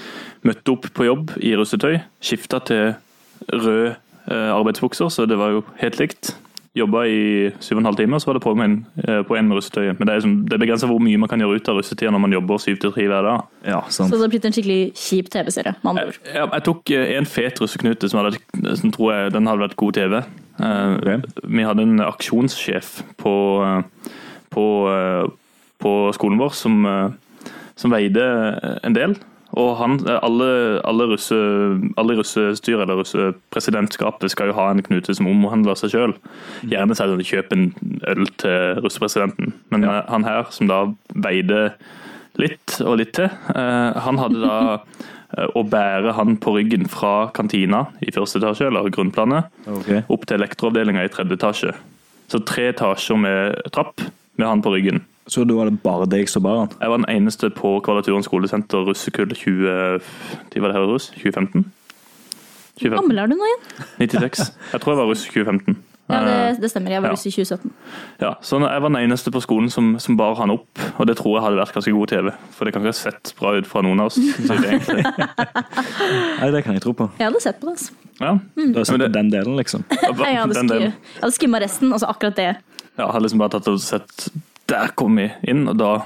[SPEAKER 3] møtte opp på jobb i russetøy. Skifta til rød eh, arbeidsbukser, så det var jo helt likt. Jobba i syv og en halv time, så var det på med en, eh, på en med russetøy. Men det er, liksom, det er begrensa hvor mye man kan gjøre ut av russetida når man jobber syv til tre hver dag.
[SPEAKER 1] Ja, sånn.
[SPEAKER 2] Så
[SPEAKER 1] sant.
[SPEAKER 2] det hadde blitt en skikkelig kjip TV-serie, med andre ord.
[SPEAKER 3] Jeg, jeg, jeg tok eh, en fet russeknute som, hadde, som tror jeg den hadde vært god TV. Eh,
[SPEAKER 1] Ok.
[SPEAKER 3] Vi hadde en aksjonssjef på, eh, på, eh, på skolen vår som, eh, som veide eh, en del. Og han, eh, alle, alle, russe, alle russestyr eller russepresidentskapet skal jo ha en knute som omhandler seg sjøl. Gjerne sier de kjøp en øl til russepresidenten, men eh, han her som da veide litt og litt til. Eh, han hadde da eh, å bære han på ryggen fra kantina i første etasje, eller grunnplanet,
[SPEAKER 1] Ok.
[SPEAKER 3] opp til elektroavdelinga i tredje etasje. Så tre etasjer med trapp med han på ryggen.
[SPEAKER 1] Så da var det bare deg som bar den?
[SPEAKER 3] Jeg var den eneste på Kvadraturen skolesenter russekull 20, de var det her, russ? 2015?
[SPEAKER 2] Hvor
[SPEAKER 3] 2015.
[SPEAKER 2] gammel er du nå igjen?
[SPEAKER 3] 96. Jeg tror jeg var russ 2015.
[SPEAKER 2] Ja, det,
[SPEAKER 3] Eh,
[SPEAKER 2] det stemmer. Jeg
[SPEAKER 3] Ja.
[SPEAKER 2] var russ i 2017.
[SPEAKER 3] Ja, så jeg var den eneste på skolen som, som bar han opp, og det tror jeg hadde vært ganske god TV. For det kan ikke ha sett bra ut fra noen av oss. synes jeg egentlig.
[SPEAKER 1] Nei, det kan jeg tro på.
[SPEAKER 2] Jeg hadde sett på det, altså.
[SPEAKER 3] Ja.
[SPEAKER 1] Du har sett
[SPEAKER 3] Men det-
[SPEAKER 1] på den delen, liksom.
[SPEAKER 2] Nei, Jeg hadde,
[SPEAKER 3] Den
[SPEAKER 2] sk
[SPEAKER 3] delen.
[SPEAKER 2] jeg hadde skimma resten, og så akkurat det.
[SPEAKER 3] Ja, jeg har liksom bare tatt og sett Der kom vi inn, og da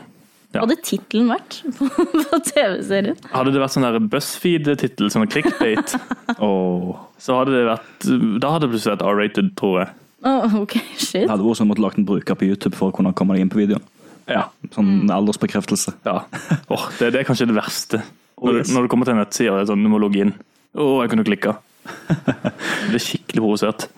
[SPEAKER 3] Ja.
[SPEAKER 2] Hadde tittelen vært på, på TV-serien?
[SPEAKER 3] Hadde det vært sånn der BuzzFeed-tittel, sånn clickbait,
[SPEAKER 1] Åh.
[SPEAKER 3] så hadde det vært Da hadde det plutselig vært R-rated, tror jeg.
[SPEAKER 2] Åh, ok, shit.
[SPEAKER 1] Det hadde vært som å måtte lage en bruker på YouTube for å kunne komme deg inn på videoen.
[SPEAKER 3] Ja.
[SPEAKER 1] Sånn
[SPEAKER 2] Mm.
[SPEAKER 1] aldersbekreftelse.
[SPEAKER 3] ja. Åh, det, det er kanskje det verste. Når,
[SPEAKER 1] Oh,
[SPEAKER 3] du-
[SPEAKER 1] yes.
[SPEAKER 3] når du kommer til en nettside og det er sånn, du må logge inn. Å, jeg kunne klikka. Jeg Blir skikkelig provosert.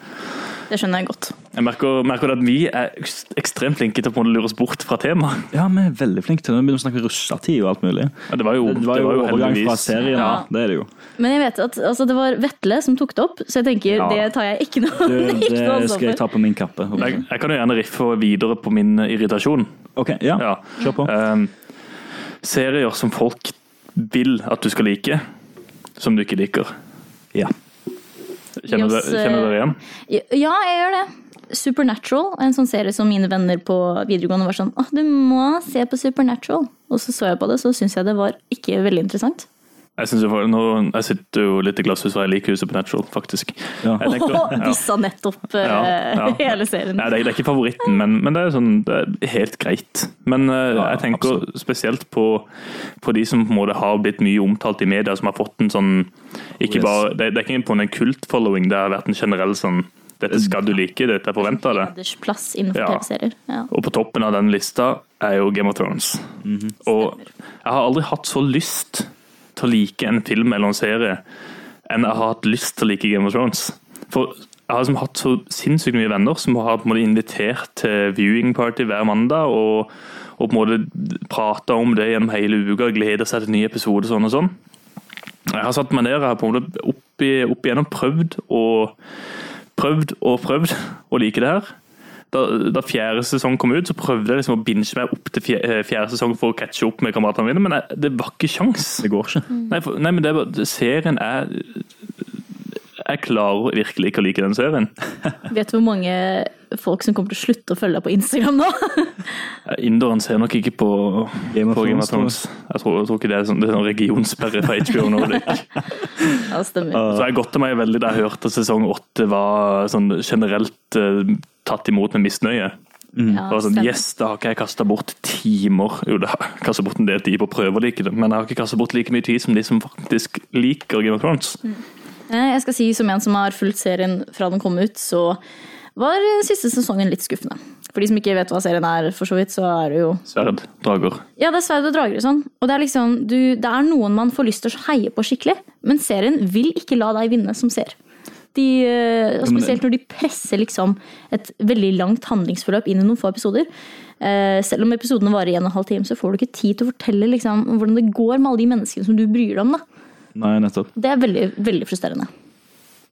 [SPEAKER 2] Det skjønner jeg godt.
[SPEAKER 3] Jeg merker, merker at vi er ekst- ekstremt flinke til å på en måte lure oss bort fra temaet.
[SPEAKER 1] Ja, vi er veldig flinke til det. Vi begynner å snakke russetid og alt mulig.
[SPEAKER 3] Ja, det var jo,
[SPEAKER 1] Det var jo overgang fra
[SPEAKER 3] heldigvis
[SPEAKER 1] serien,
[SPEAKER 2] Ja.
[SPEAKER 1] da. det er det jo.
[SPEAKER 2] Men jeg vet at altså, det var Vetle som tok det opp, så jeg tenker
[SPEAKER 1] Ja.
[SPEAKER 2] det tar jeg ikke noe,
[SPEAKER 1] Det,
[SPEAKER 2] ikke noe
[SPEAKER 1] det skal jeg
[SPEAKER 2] ansvar for.
[SPEAKER 1] ta på min kappe.
[SPEAKER 3] jeg, jeg kan jo gjerne riffe videre på min irritasjon.
[SPEAKER 1] Ok, ja. Eh.
[SPEAKER 3] Ja.
[SPEAKER 1] Kjør på.
[SPEAKER 3] Ehm, serier som folk vil at du skal like, som du ikke liker.
[SPEAKER 1] Ja.
[SPEAKER 3] Kjenner
[SPEAKER 2] Yes,
[SPEAKER 3] dere- kjenner dere igjen?
[SPEAKER 2] Ja, jeg gjør det. Supernatural, en sånn serie som mine venner på videregående var sånn åh, du må se på Supernatural. Og så så jeg på det, så syns jeg det var ikke veldig interessant.
[SPEAKER 3] Jeg, synes jo for- nå, jeg sitter jo litt i glasshus, for jeg liker jo Supernatural, faktisk.
[SPEAKER 1] Ja.
[SPEAKER 3] Jeg tenkte-
[SPEAKER 2] Åh,
[SPEAKER 3] ja.
[SPEAKER 2] dissa nettopp eh,
[SPEAKER 3] Ja, ja.
[SPEAKER 2] hele serien.
[SPEAKER 3] Nei, det er, det er ikke favoritten, men, men det er sånn det er helt greit. Men eh,
[SPEAKER 1] Ja,
[SPEAKER 3] jeg tenker spesielt på, på de som på en måte har blitt mye omtalt i media, som har fått en sånn ikke
[SPEAKER 1] Yes.
[SPEAKER 3] bare, det, det er ikke på en kult-following, det har vært en generell sånn Dette skal du like, dette er forventa av deg.
[SPEAKER 2] Hedersplass innenfor
[SPEAKER 3] Ja.
[SPEAKER 2] TV-serier. Ja.
[SPEAKER 3] Og på toppen av den lista er jo Game of Thrones. Og jeg har aldri hatt så lyst til å like en film eller en serie enn jeg har hatt lyst til å like Game of Thrones. For jeg har liksom hatt så sinnssykt mye venner som har på en måte invitert til viewing party hver mandag, og, og på en måte prata om det gjennom hele uka, gleder seg til en ny episode sånn og sånn. Jeg har satt meg ned og har på en måte opp, i- opp igjennom prøvd og prøvd og prøvd å like det her. da, da fjerde sesong kom ut, så prøvde jeg liksom å binge meg opp til fjerde, fjerde sesong for å catche opp med kameratene mine, men jeg, det var ikke sjans.
[SPEAKER 1] Det går ikke.
[SPEAKER 3] Nei, for, nei men det er bare, serien er Jeg klarer virkelig ikke å like den serien.
[SPEAKER 2] Vet du hvor mange folk som kommer til å slutte å følge deg på Instagram nå?
[SPEAKER 3] Inderen ser nok ikke på
[SPEAKER 1] Game of
[SPEAKER 3] på Game
[SPEAKER 1] Thrones,
[SPEAKER 3] of Thrones. Jeg tror, jeg tror ikke det er sånn, det er sånn regionsperre fra HBO nå. det er ikke.
[SPEAKER 2] Ja, det stemmer.
[SPEAKER 3] Så jeg godte meg veldig da jeg hørte at sesong åtte var sånn generelt eh, tatt imot med misnøye.
[SPEAKER 2] Ja,
[SPEAKER 3] Det var sånn,
[SPEAKER 2] stemmer.
[SPEAKER 3] yes, da har ikke jeg kasta bort timer Jo, da har jeg kasta bort en del tid på å prøve å like det, men jeg har ikke kasta bort like mye tid som de som faktisk liker Game of Thrones.
[SPEAKER 2] Eh, Jeg skal si som en som har fulgt serien fra den kom ut, så var eh, siste sesongen litt skuffende. For de som ikke vet hva serien er, for så vidt, så er det jo
[SPEAKER 3] Sverd, drager.
[SPEAKER 2] Ja, det er sverd og drager og sånn. Og det er liksom du, Det er noen man får lyst til å heie på skikkelig, men serien vil ikke la deg vinne som ser. De, eh, og
[SPEAKER 1] men-
[SPEAKER 2] spesielt når de presser liksom et veldig langt handlingsforløp inn i noen få episoder. Eh, Selv om episodene varer i en og en halv time, så får du ikke tid til å fortelle liksom, om hvordan det går med alle de menneskene som du bryr deg om. Da.
[SPEAKER 1] Nei, nettopp.
[SPEAKER 2] Det er veldig, veldig frustrerende.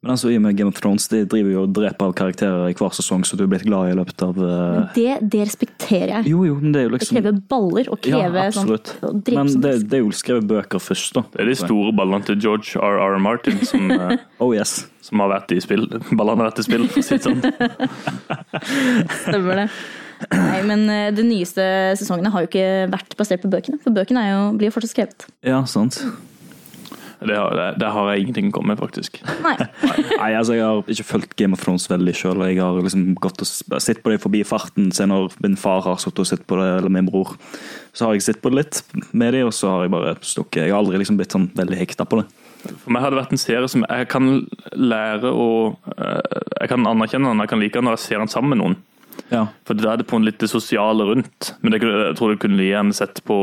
[SPEAKER 1] Men altså, i og med Game of Thrones, de driver jo og dreper av karakterer i hver sesong, så du er blitt glad i løpet av eh,
[SPEAKER 2] Det, det respekterer jeg.
[SPEAKER 1] Jo, jo, men det er jo
[SPEAKER 2] Det
[SPEAKER 1] liksom
[SPEAKER 2] krever baller og
[SPEAKER 1] Ja,
[SPEAKER 2] kreve sånn
[SPEAKER 1] absolutt.
[SPEAKER 2] og drepe
[SPEAKER 1] Men
[SPEAKER 2] som
[SPEAKER 1] det,
[SPEAKER 2] helst.
[SPEAKER 1] det er jo skrevet bøker først, da.
[SPEAKER 3] Det er de store ballene til George R.R. Martin som, eh,
[SPEAKER 1] Oh yes.
[SPEAKER 3] som har vært i spill. Ballene har vært i spill, for å si det sånn.
[SPEAKER 2] Stemmer det. Nei, men eh, de nyeste sesongene har jo ikke vært basert på bøkene. For bøkene er jo, blir jo fortsatt skrevet.
[SPEAKER 1] Ja, sant.
[SPEAKER 3] Det har, det, det har jeg ingenting å komme med, faktisk.
[SPEAKER 2] Nei.
[SPEAKER 1] Nei, altså Jeg har ikke fulgt Game of Thrones veldig sjøl. Jeg har liksom gått og s- sett på det forbi farten se når min far har sittet og sett på det, eller min bror. Så har jeg sett på det litt med de, og så har jeg bare stukket. Jeg har aldri liksom blitt sånn veldig hekta på det.
[SPEAKER 3] For meg har det vært en serie som jeg kan lære å eh, Jeg kan anerkjenne den, jeg kan like den når jeg ser den sammen med noen.
[SPEAKER 1] Ja,
[SPEAKER 3] For da er det på en litt det sosiale rundt. Men det, kunne- jeg tror du kunne igjen sett på,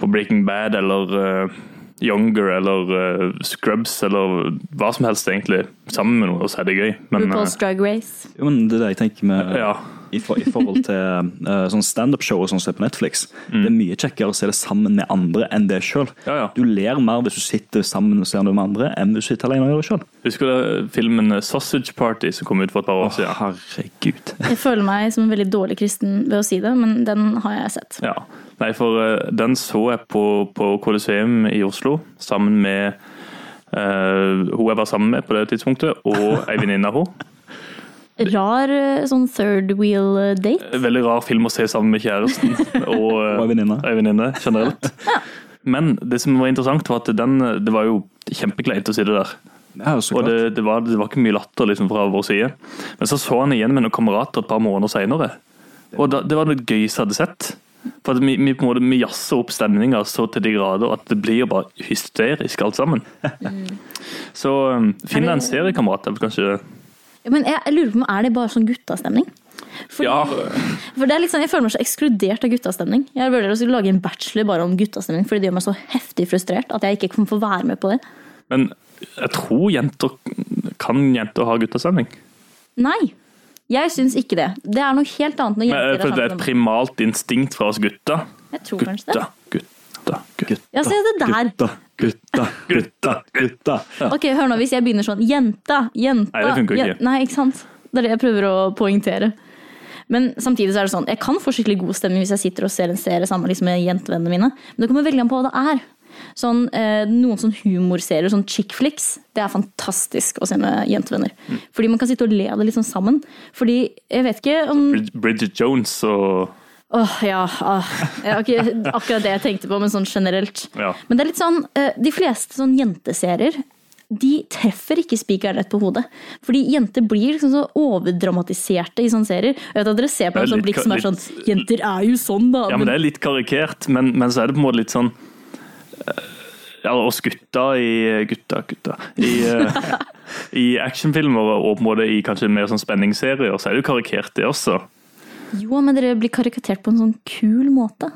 [SPEAKER 3] på Breaking Bad eller eh, Younger eller eh, Scrubs eller hva som helst, egentlig. Sammen med noen, og så er det gøy. Men eh,
[SPEAKER 2] RuPaul's Drag Race.
[SPEAKER 1] jo, men Det er det jeg tenker med
[SPEAKER 3] ja,
[SPEAKER 1] i, for, i forhold til eh, sånn standup-show og sånn som er på Netflix. Det er mye kjekkere å se det sammen med andre enn det sjøl.
[SPEAKER 3] ja, ja.
[SPEAKER 1] Du ler mer hvis du sitter sammen og ser det med andre, enn hvis du sitter alene og gjør det sjøl.
[SPEAKER 3] Husker du filmen eh, Sausage Party som kom ut for et par år siden?
[SPEAKER 1] herregud.
[SPEAKER 2] Jeg føler meg som en veldig dårlig kristen ved å si det, men den har jeg sett.
[SPEAKER 3] Ja. Nei, for eh, den så jeg på, på Coliseum i Oslo sammen med eh, hun jeg var sammen med på det tidspunktet, og ei venninne av henne.
[SPEAKER 2] Rar eh, sånn third wheel eh, date.
[SPEAKER 3] Veldig rar film å se sammen med kjæresten og eh,
[SPEAKER 1] Og ei venninne.
[SPEAKER 3] ei venninne generelt. Men det som var interessant, var at den, eh, det var jo kjempekleint å sitte der.
[SPEAKER 1] Ja, så
[SPEAKER 3] Og
[SPEAKER 1] klart.
[SPEAKER 3] det, det, var, det var ikke mye latter liksom, fra vår side. Men så så han igjen med noen kamerater et par måneder senere. Og da, det var det gøyeste jeg hadde sett. For at vi, vi, på en måte, vi jazzer opp stemninga så til de grader at det blir jo bare hysterisk alt sammen.
[SPEAKER 1] Mm.
[SPEAKER 3] Så um, finn deg en seriekamerat, eller kanskje
[SPEAKER 2] Men jeg, jeg lurer på om er det bare sånn guttastemning? Fordi-
[SPEAKER 3] Ja,
[SPEAKER 2] For det er litt sånn, Jeg føler meg så ekskludert av guttastemning. Jeg vurderer å skulle lage en bachelor bare om guttastemning, fordi det gjør meg så heftig frustrert at jeg ikke kan få være med på det.
[SPEAKER 3] men jeg tror jenter Kan jenter ha guttastemning?
[SPEAKER 2] Nei. Jeg syns ikke det. Det er noe helt annet når
[SPEAKER 3] Men, eh,
[SPEAKER 2] jenter
[SPEAKER 3] For det er
[SPEAKER 2] sammen
[SPEAKER 3] et
[SPEAKER 2] om-
[SPEAKER 3] primalt instinkt fra oss gutter.
[SPEAKER 2] Jeg tror kanskje det.
[SPEAKER 3] Gutta, gutta, gutta.
[SPEAKER 2] Ja, se det der.
[SPEAKER 1] Gutta, gutta, gutta, gutta.
[SPEAKER 2] Ok, hør nå, Hvis jeg begynner sånn Jenta, jenta
[SPEAKER 3] Nei, det funker jo
[SPEAKER 2] jen-
[SPEAKER 3] ikke.
[SPEAKER 2] Nei, ikke sant? Det er det jeg prøver å poengtere. Men samtidig så er det sånn, jeg kan få skikkelig god stemning hvis jeg sitter og ser en serie sammen liksom med jentevennene mine. Men det kommer veldig an på hva det er. Sånn, eh, noen sånn humorserier, sånn chick flicks, det er fantastisk å se med jentevenner.
[SPEAKER 3] Mm.
[SPEAKER 2] Fordi man kan sitte og le av det liksom sammen. Fordi, jeg vet ikke om
[SPEAKER 3] Brid- Bridget Jones og
[SPEAKER 2] Åh, ja. ah. Det var ikke akkurat det jeg tenkte på, men sånn generelt.
[SPEAKER 3] Ja.
[SPEAKER 2] Men det er litt sånn, eh, de fleste sånn jenteserier de treffer ikke spikeren rett på hodet. Fordi jenter blir liksom så overdramatiserte i sånne serier. Jeg vet at dere ser på meg
[SPEAKER 3] Det er
[SPEAKER 2] sånn
[SPEAKER 3] litt
[SPEAKER 2] blikk som er
[SPEAKER 3] ka-
[SPEAKER 2] sånn Jenter er jo sånn, da.
[SPEAKER 3] Ja, men det er litt karikert, men, men så er det på en måte litt sånn eh, ja, oss gutta i Gutta, gutta. I, eh, i actionfilmer og på en måte i kanskje mer sånn spenningsserier, så er det jo karikert, det også.
[SPEAKER 2] Jo, men dere blir karikatert på en sånn kul måte.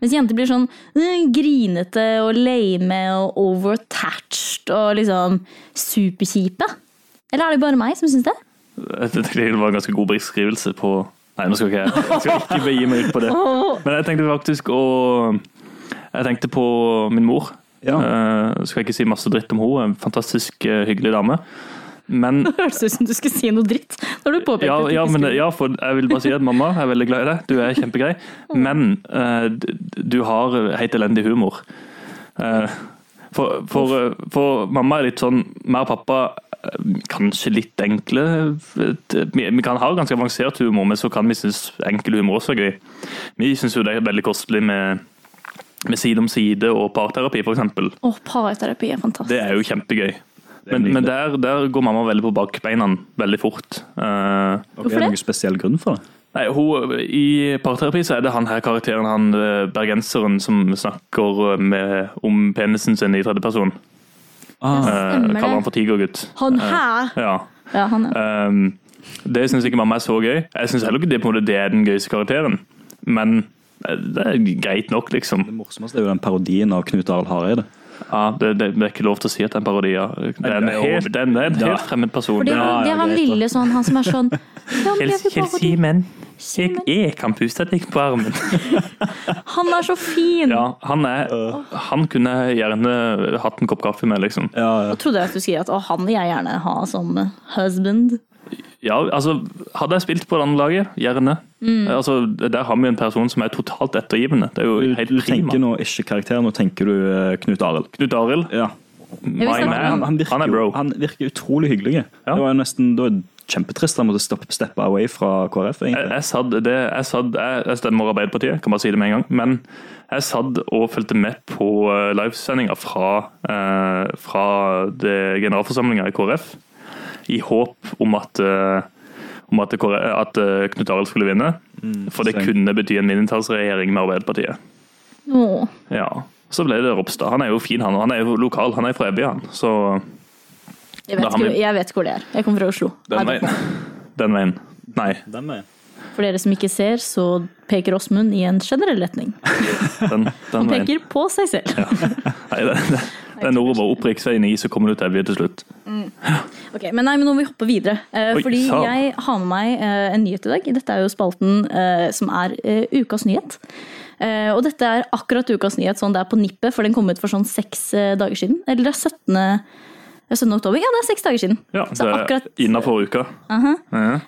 [SPEAKER 2] Mens jenter blir sånn eh, grinete og lame og overattached og liksom superkjipe. Eller er det bare meg som syns det?
[SPEAKER 3] Jeg tenkte Det var en ganske god beskrivelse på Nei, nå skal ikke jeg, jeg skal ikke begi meg ut på det. Men jeg tenkte faktisk å Jeg tenkte på min mor.
[SPEAKER 1] Ja.
[SPEAKER 3] Eh, skal jeg ikke si masse dritt om henne. En fantastisk eh, hyggelig dame. Men
[SPEAKER 2] Hørtes ut som du skulle si noe dritt når du påpekte
[SPEAKER 3] ja,
[SPEAKER 2] at du
[SPEAKER 3] ja,
[SPEAKER 2] ikke
[SPEAKER 3] men,
[SPEAKER 2] skulle.
[SPEAKER 3] ja, for jeg vil bare si at mamma er veldig glad i deg. Du er kjempegrei. Men eh, d- du har helt elendig humor. Eh, for, for, eh, for mamma er litt sånn Mer pappa eh, kanskje litt enkle Vi, vi kan ha ganske avansert humor, men så kan vi synes enkel humor også er gøy. Vi syns jo det er veldig kostelig med, med side om side og parterapi, f.eks.
[SPEAKER 2] Å, parterapi er fantastisk.
[SPEAKER 3] Det er jo kjempegøy. Men, men der, der går mamma veldig på bakbeina veldig fort. Eh,
[SPEAKER 1] Og er
[SPEAKER 2] Hvorfor
[SPEAKER 1] det
[SPEAKER 2] det?
[SPEAKER 1] noen spesiell grunn for det?
[SPEAKER 3] Nei, hun, I parterapi så er det han her karakteren, han eh, bergenseren, som snakker eh, med, om penisen sin i tredjeperson.
[SPEAKER 1] Ah,
[SPEAKER 3] Eh,
[SPEAKER 2] Stemmer
[SPEAKER 3] kaller han
[SPEAKER 2] det.
[SPEAKER 3] for tigergutt.
[SPEAKER 2] Han her!
[SPEAKER 3] Ja.
[SPEAKER 2] Ja, han er.
[SPEAKER 3] Ehm, det syns ikke mamma er så gøy. Jeg syns heller ikke det, på en måte, det er den gøyeste karakteren, men eh, det er greit nok, liksom.
[SPEAKER 1] det morsomste er jo den parodien av Knut Arild Hareide.
[SPEAKER 3] Ja, det, det, det er ikke lov til å si at det er en parodi. ja. Det er en
[SPEAKER 1] det er jo-
[SPEAKER 3] helt, det er en, det er en
[SPEAKER 1] Ja.
[SPEAKER 3] helt fremmed person.
[SPEAKER 2] For det,
[SPEAKER 3] Ja,
[SPEAKER 2] det er han
[SPEAKER 1] greit, da.
[SPEAKER 2] lille sånn, han som er sånn ja, men jeg
[SPEAKER 3] Kjell
[SPEAKER 2] vil
[SPEAKER 3] Kjell
[SPEAKER 2] bare-
[SPEAKER 3] Simen, jeg, jeg kan puste deg på armen.
[SPEAKER 2] Han er så fin!
[SPEAKER 3] Ja, han, er, han kunne jeg gjerne hatt en kopp kaffe med, liksom.
[SPEAKER 1] Ja, ja.
[SPEAKER 2] Jeg trodde jeg at du skulle si at å, han vil jeg gjerne ha som husband.
[SPEAKER 3] Ja, altså, hadde jeg spilt på det andre laget, gjerne. Altså, der har vi en person som er totalt ettergivende. Det er
[SPEAKER 1] Du,
[SPEAKER 3] jo
[SPEAKER 1] du
[SPEAKER 3] helt prima.
[SPEAKER 1] tenker nå ikke karakter, nå tenker du eh, Knut Arild.
[SPEAKER 3] Knut Arild,
[SPEAKER 1] Ja.
[SPEAKER 3] my
[SPEAKER 2] snakke om
[SPEAKER 3] man. Han,
[SPEAKER 1] virker,
[SPEAKER 3] er bro.
[SPEAKER 1] jo- han virker utrolig hyggelig.
[SPEAKER 3] Ja.
[SPEAKER 1] Det var jo nesten det var kjempetrist at han måtte stoppe- steppe away fra KrF.
[SPEAKER 3] Jeg,
[SPEAKER 1] egentlig.
[SPEAKER 3] jeg, satt, det, jeg, satt, jeg, jeg stemmer Arbeiderpartiet, kan bare si det med en gang. Men jeg satt og fulgte med på eh, livesendinga fra, eh, fra det- generalforsamlinga i KrF, i håp om at, eh, om at, KrF, at eh, Knut Arild skulle vinne. For det
[SPEAKER 1] same.
[SPEAKER 3] kunne bety en mindretallsregjering med Arbeiderpartiet.
[SPEAKER 2] Åh.
[SPEAKER 3] Ja. Så ble det Ropstad. Han er jo fin, han. Han er jo lokal. Han er fra Evje, han. Så
[SPEAKER 2] Jeg vet,
[SPEAKER 3] Da har
[SPEAKER 2] ikke,
[SPEAKER 3] vi-
[SPEAKER 2] jeg vet ikke hvor det er. Jeg kommer fra Oslo.
[SPEAKER 3] den
[SPEAKER 2] Nei,
[SPEAKER 3] veien. Den veien. Nei,
[SPEAKER 1] Den er-
[SPEAKER 2] For dere som ikke ser, så peker Åsmund i en generell retning.
[SPEAKER 3] den, den veien.
[SPEAKER 2] Peker på seg selv.
[SPEAKER 3] Nei, det, det, det er nordover. Opp rv. 9, så kommer du til Evje til slutt.
[SPEAKER 2] Ok, men nei, men nå må vi hoppe videre. Eh,
[SPEAKER 3] Oi,
[SPEAKER 2] fordi
[SPEAKER 3] sa-
[SPEAKER 2] jeg har med meg eh, en nyhet i dag. Dette er jo spalten eh, som er eh, ukas nyhet. Eh, og dette er akkurat ukas nyhet, sånn det er på nippet, for den kom ut for sånn seks eh, dager siden. Eller det er 17. det er 17. oktober. Ja, det er seks dager siden.
[SPEAKER 3] Ja,
[SPEAKER 2] så
[SPEAKER 3] det
[SPEAKER 2] akkurat
[SPEAKER 3] er innafor uka.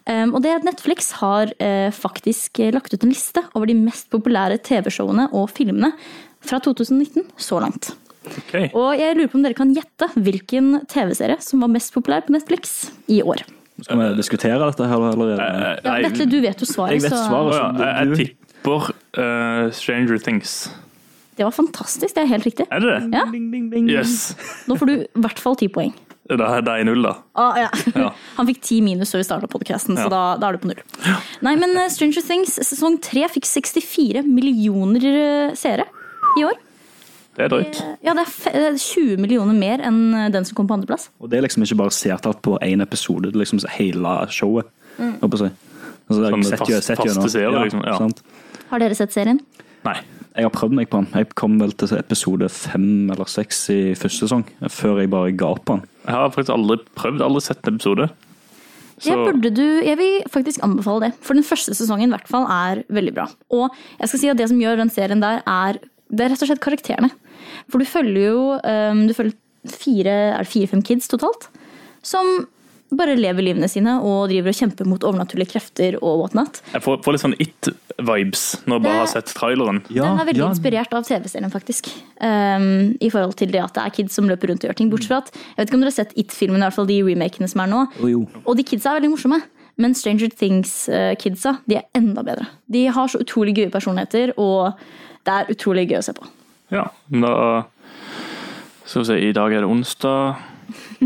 [SPEAKER 2] Um, og det er at Netflix har eh, faktisk eh, lagt ut en liste over de mest populære TV-showene og filmene fra 2019 så langt.
[SPEAKER 3] Ok.
[SPEAKER 2] Og jeg lurer på om dere kan gjette hvilken TV-serie som var mest populær på Netflix i år.
[SPEAKER 1] Skal vi diskutere dette her allerede?
[SPEAKER 3] Eh,
[SPEAKER 2] Ja,
[SPEAKER 3] nei,
[SPEAKER 2] Vetle, du vet jo svaret,
[SPEAKER 1] Jeg vet
[SPEAKER 2] så
[SPEAKER 1] svaret.
[SPEAKER 3] å ja, jeg,
[SPEAKER 1] Du-
[SPEAKER 3] jeg tipper eh, Stranger Things.
[SPEAKER 2] det var fantastisk. Det er helt riktig.
[SPEAKER 3] Er det det?
[SPEAKER 2] Ja,
[SPEAKER 3] Jøss.
[SPEAKER 2] Nå får du i hvert fall ti poeng.
[SPEAKER 3] Da er det 1-0, da.
[SPEAKER 2] Ah, ja.
[SPEAKER 3] Ja.
[SPEAKER 2] Han fikk ti minus før vi starta podkasten, så da, da er du på null. Nei, men eh, Stranger Things sesong tre fikk 64 millioner eh, seere i år. Eh,
[SPEAKER 3] Det er drøyt.
[SPEAKER 2] Ja, det er fe- det er 20 millioner mer enn eh, den som kom på andreplass.
[SPEAKER 1] Og det er liksom ikke bare seertall på én episode, det er liksom hele showet. holdt på å si. Altså, det er
[SPEAKER 3] Sånn
[SPEAKER 1] sett
[SPEAKER 3] fast-
[SPEAKER 1] gjø- sett
[SPEAKER 3] faste
[SPEAKER 1] gjennom.
[SPEAKER 3] seere, liksom, ja.
[SPEAKER 1] sant?
[SPEAKER 2] Har dere sett serien?
[SPEAKER 3] Nei.
[SPEAKER 1] Jeg har prøvd meg på den. Jeg kom vel til episode fem eller seks i første sesong, før jeg bare ga opp på den.
[SPEAKER 3] Jeg har faktisk aldri prøvd, aldri sett en episode.
[SPEAKER 2] Det burde du, jeg vil faktisk anbefale det. For den første sesongen i hvert fall er veldig bra. Og jeg skal si at det som gjør den serien der, er, det er rett og slett karakterene. For du følger jo um, du følger fire, er det fire-fem kids totalt, som bare lever livene sine og driver og kjemper mot overnaturlige krefter og whatnot.
[SPEAKER 3] Jeg får, får litt sånn It-vibes når jeg bare har sett traileren.
[SPEAKER 2] den er veldig inspirert av TV-serien, faktisk. Um, I forhold til det at det er kids som løper rundt og gjør ting. Bortsett fra at Jeg vet ikke om dere har sett It-filmen, i hvert fall de remakene som er nå.
[SPEAKER 1] Jo, jo.
[SPEAKER 2] Og de kidsa er veldig morsomme. Men Stranger Things-kidsa de er enda bedre. De har så utrolig gøye personligheter, og det er utrolig gøy å se på.
[SPEAKER 3] Ja, men da Skal vi se, i dag er det onsdag.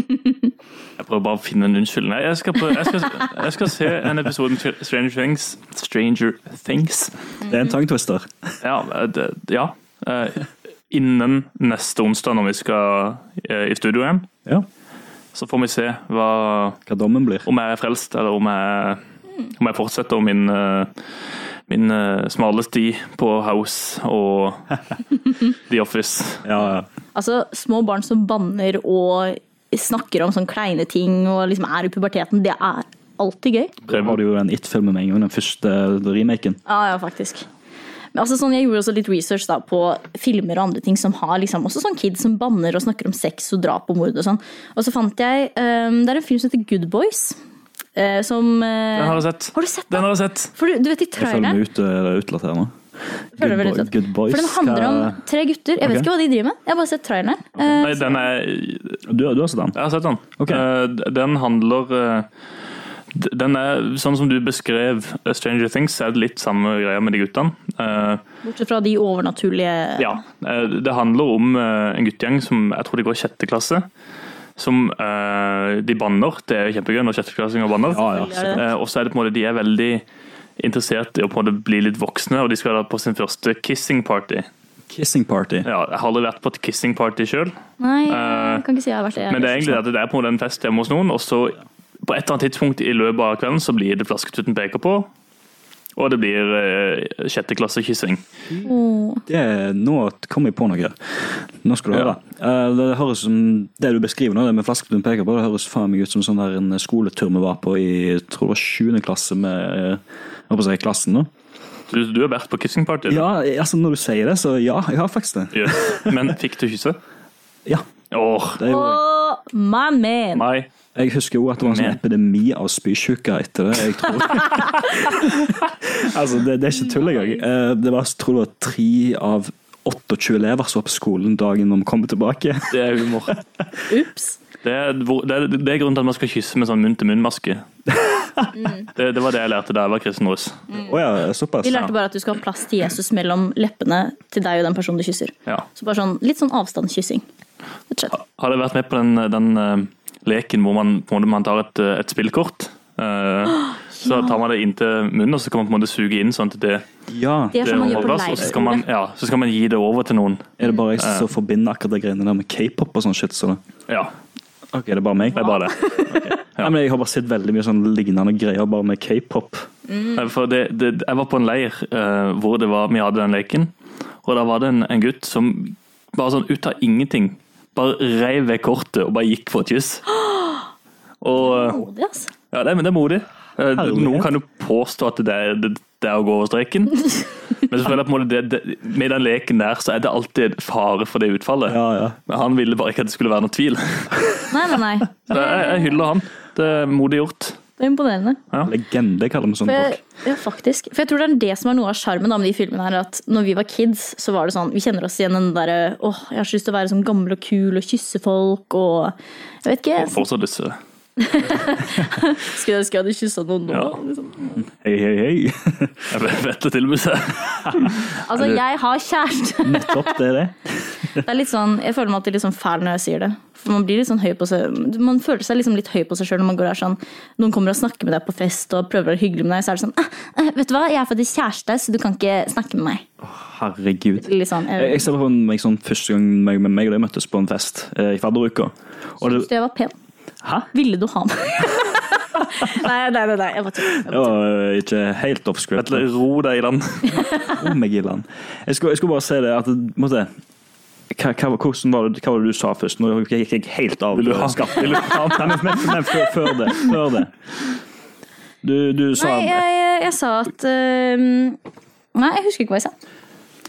[SPEAKER 3] Jeg prøver bare å finne en unnskyldning. Nei, Jeg skal, prøve, jeg skal, jeg skal se en episode med Stranger Things. Stranger Things.
[SPEAKER 1] Det er en tongue twister.
[SPEAKER 3] Ja, det, ja. Eh, Innen neste onsdag, når vi skal eh, i studio igjen,
[SPEAKER 1] Ja.
[SPEAKER 3] så får vi se hva,
[SPEAKER 1] Hva dommen blir.
[SPEAKER 3] om jeg er frelst, eller om jeg, om jeg fortsetter min, eh, min eh, smale sti på House og The Office.
[SPEAKER 1] Ja, ja.
[SPEAKER 2] Altså, små barn som banner og snakker om sånne kleine ting og liksom er i puberteten, det er alltid gøy.
[SPEAKER 1] Da har du jo den It-filmen med en gang, den første remaken.
[SPEAKER 2] Ja, ja, faktisk. Men altså sånn, jeg gjorde også litt research da, på filmer og andre ting som har liksom, også sånn kids som banner og snakker om sex og drap og mord og sånn. Og så fant jeg ehm, Det er en film som heter Good Boys. eh, som eh,
[SPEAKER 3] Den har jeg sett.
[SPEAKER 2] Har du sett
[SPEAKER 3] Den
[SPEAKER 2] den?
[SPEAKER 3] har jeg sett.
[SPEAKER 2] For du, du vet i
[SPEAKER 1] Jeg føler
[SPEAKER 2] traileren
[SPEAKER 1] meg ut, eh, utelatt her nå.
[SPEAKER 2] føler
[SPEAKER 1] Good
[SPEAKER 2] jeg meg litt
[SPEAKER 1] boy-
[SPEAKER 2] ut.
[SPEAKER 1] Good boys.
[SPEAKER 2] For den handler om
[SPEAKER 1] hva-
[SPEAKER 2] tre gutter. Jeg vet
[SPEAKER 1] Ok.
[SPEAKER 2] ikke hva de driver med. Jeg har bare sett traileren. Eh,
[SPEAKER 3] Nei, den er
[SPEAKER 1] Du, du har sett den?
[SPEAKER 3] Jeg har sett den.
[SPEAKER 1] Ok.
[SPEAKER 3] Eh, d- Den handler eh, d- Den er sånn som du beskrev eh, Stranger Things, er det litt samme greia med de guttene. Eh,
[SPEAKER 2] bortsett fra de overnaturlige
[SPEAKER 3] Ja. eh, Det handler om eh, en guttegjeng som jeg tror de går i sjette klasse. Som eh, de banner. Det er jo kjempegøy når sjetteklassinger banner.
[SPEAKER 1] Ja, ja.
[SPEAKER 2] Er det det?
[SPEAKER 3] Eh, Og så er det på en måte de er veldig interessert i å på en måte bli litt voksne, og de skal da på sin første kissing party.
[SPEAKER 1] Kissing party.
[SPEAKER 3] Ja, jeg har aldri vært på et kissing party sjøl,
[SPEAKER 2] Nei,
[SPEAKER 3] Eh,
[SPEAKER 2] jeg kan ikke si jeg har vært det.
[SPEAKER 3] men det er egentlig det at det er på en måte en fest hjemme hos noen, og så på et eller annet tidspunkt i løpet av kvelden så blir det flasketuten peker på, og det blir eh, sjetteklassekyssing.
[SPEAKER 2] Åh.
[SPEAKER 1] Det, nå kom jeg på noe. Nå skal du
[SPEAKER 3] Ja.
[SPEAKER 1] høre. Eh, Det, høres som, det du beskriver nå, det med flasken du peker på, det høres faen meg ut som sånn der en skoletur vi var på i jeg tror det var 7. klasse med eh, hva på å si, klassen. nå.
[SPEAKER 3] Du, du har vært på kissing party?
[SPEAKER 1] Ja, altså Når du sier det, så ja, jeg har faktisk det.
[SPEAKER 3] Yes. Men fikk du kysse?
[SPEAKER 1] Ja,
[SPEAKER 3] Åh,
[SPEAKER 1] det gjorde jeg.
[SPEAKER 2] Åh, my man!
[SPEAKER 3] nei.
[SPEAKER 1] Jeg husker jo at det var en sånn
[SPEAKER 3] Men-
[SPEAKER 1] epidemi av spysjuke etter det. jeg tror. altså, det, det er ikke tull engang. Eh, Det var, jeg tror det var tre av 28 elever som var på skolen dagen de kom tilbake.
[SPEAKER 3] Det er humor.
[SPEAKER 2] Ups.
[SPEAKER 3] Det er, hvor- det, er, det er grunnen til at man skal kysse med sånn munn-til-munn-maske. Det, det var det jeg lærte da jeg var kristen russ.
[SPEAKER 1] Å ja, såpass.
[SPEAKER 2] Vi lærte bare at du skal ha plass til Jesus mellom leppene til deg og den personen du kysser.
[SPEAKER 3] Ja.
[SPEAKER 2] Så bare sånn, Litt sånn avstandskyssing. Rett og slett.
[SPEAKER 3] Har dere vært med på den, den eh, leken hvor man, på en måte, man tar et, eh, et spillkort? Eh, så tar man det inntil munnen, og så kan man på en måte suge inn sånn at det,
[SPEAKER 1] Ja.
[SPEAKER 2] Det er
[SPEAKER 3] det
[SPEAKER 2] som man gjør på
[SPEAKER 3] overplass, og så skal, man,
[SPEAKER 2] leirskole.
[SPEAKER 3] ja, så skal man gi det over til noen.
[SPEAKER 1] Er det bare jeg som forbinder akkurat de greiene der med k-pop og sånn shit? Så da?
[SPEAKER 3] Ja,
[SPEAKER 1] Ok, det er bare meg?
[SPEAKER 3] det er bare det.
[SPEAKER 1] Nei, men jeg har bare sett veldig mye sånn lignende greier bare med k-pop.
[SPEAKER 2] Mm.
[SPEAKER 3] Eh, For det, det, jeg var på en leir eh, hvor det var, vi hadde den leken, og da var det en, en gutt som bare sånn ut av ingenting, bare reiv vekk kortet og bare gikk for et kyss. Og eh,
[SPEAKER 2] Modig, ass.
[SPEAKER 3] Ja, det, men det er modig. Eh,
[SPEAKER 1] Herlighet.
[SPEAKER 3] Noen kan jo påstå at det er, det, det er å gå over streken. Men så føler jeg på en måte det, det, med den leken der, så er det alltid fare for det utfallet.
[SPEAKER 1] Ja, ja.
[SPEAKER 3] Men han ville bare ikke at det skulle være noen tvil.
[SPEAKER 2] Nei, nei, nei.
[SPEAKER 3] Så jeg, jeg hyller han. Det er modig gjort.
[SPEAKER 2] Det er imponerende.
[SPEAKER 1] Legende kaller vi sånne
[SPEAKER 2] For jeg,
[SPEAKER 1] folk.
[SPEAKER 2] ja, faktisk. For jeg tror det er det som er noe av sjarmen da med de filmene her, at når vi var kids, så var det sånn Vi kjenner oss igjen i den derre åh, jeg har så lyst til å være sånn gammel og kul og kysse folk og Jeg vet ikke.
[SPEAKER 3] Fortsatt disse.
[SPEAKER 2] Skulle jeg ønske jeg hadde kyssa noen nå.
[SPEAKER 3] Ja.
[SPEAKER 2] Liksom.
[SPEAKER 1] Hei, hei, hei.
[SPEAKER 3] Jeg vet- vet det til og med. så-
[SPEAKER 2] Altså, jeg har kjæreste.
[SPEAKER 1] Nettopp, det er det.
[SPEAKER 2] Det er litt sånn, jeg føler meg alltid litt sånn fæl når jeg sier det. For Man blir litt sånn høy på seg Man føler seg liksom litt høy på seg sjøl når man går her sånn Noen kommer og snakker med deg på fest og prøver å være hyggelig med deg, så er det sånn «Eh, eh, Vet du hva, jeg er faktisk kjæreste, så du kan ikke snakke med meg.
[SPEAKER 1] Herregud.
[SPEAKER 2] Litt sånn,
[SPEAKER 1] Jeg,
[SPEAKER 2] jeg
[SPEAKER 1] jeg ser på meg sånn første gang meg, meg og deg møttes på en fest eh, i fadderuka. Og det,
[SPEAKER 2] Syns du jeg var pen?
[SPEAKER 1] hæ?
[SPEAKER 2] Ville du ha meg? nei, nei, nei, nei. Jeg bare tuller. Jeg
[SPEAKER 1] Det
[SPEAKER 2] bare tuller.
[SPEAKER 1] var eh, ikke helt off script.
[SPEAKER 3] Vet du, Ro deg i land.
[SPEAKER 1] om meg i land. Jeg skulle, jeg skulle bare si det at måtte, hva, hva, hvordan var det, hva var det du sa først? Nå gikk jeg helt av.
[SPEAKER 3] Vil du ha-
[SPEAKER 1] skatt? Vil du ha? Nei, men, men, men før, før det. Før det. Du, du sa
[SPEAKER 2] Nei, jeg, jeg, jeg sa at øhm, Nei, jeg husker ikke hva jeg sa.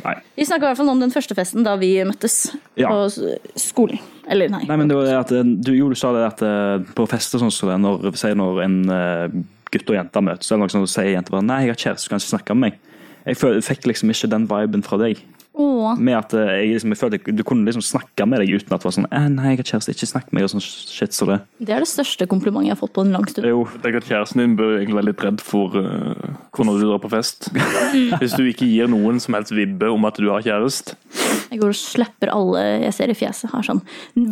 [SPEAKER 1] Nei.
[SPEAKER 2] Vi snakka i hvert fall om den første festen da vi møttes
[SPEAKER 1] Ja.
[SPEAKER 2] på s- skolen. Eller nei.
[SPEAKER 1] Nei, men det var det at eh, du, jo, du sa det at eh, på fester sånn som det, når, si når en eh, gutt og jente møtes, eller noe sånt, så sier jenta bare nei, jeg har kjæreste, du kan ikke snakke med meg. Jeg føl- fikk liksom ikke den viben fra deg.
[SPEAKER 2] Åh.
[SPEAKER 1] Med at eh, jeg, liksom, jeg følte Du kunne liksom snakke med deg uten at det var sånn eh, Nei, jeg har kjæreste, ikke snakk med meg, og sånn shit som det.
[SPEAKER 2] Det er det største komplimentet jeg har fått på en lang stund.
[SPEAKER 1] Jo,
[SPEAKER 3] Tenk at Kjæresten din bør egentlig være litt redd for eh, hvor når du drar på fest. Hvis du ikke gir noen som helst vibbe om at du har kjæreste.
[SPEAKER 2] Jeg går og slapper alle jeg ser i fjeset. Har sånn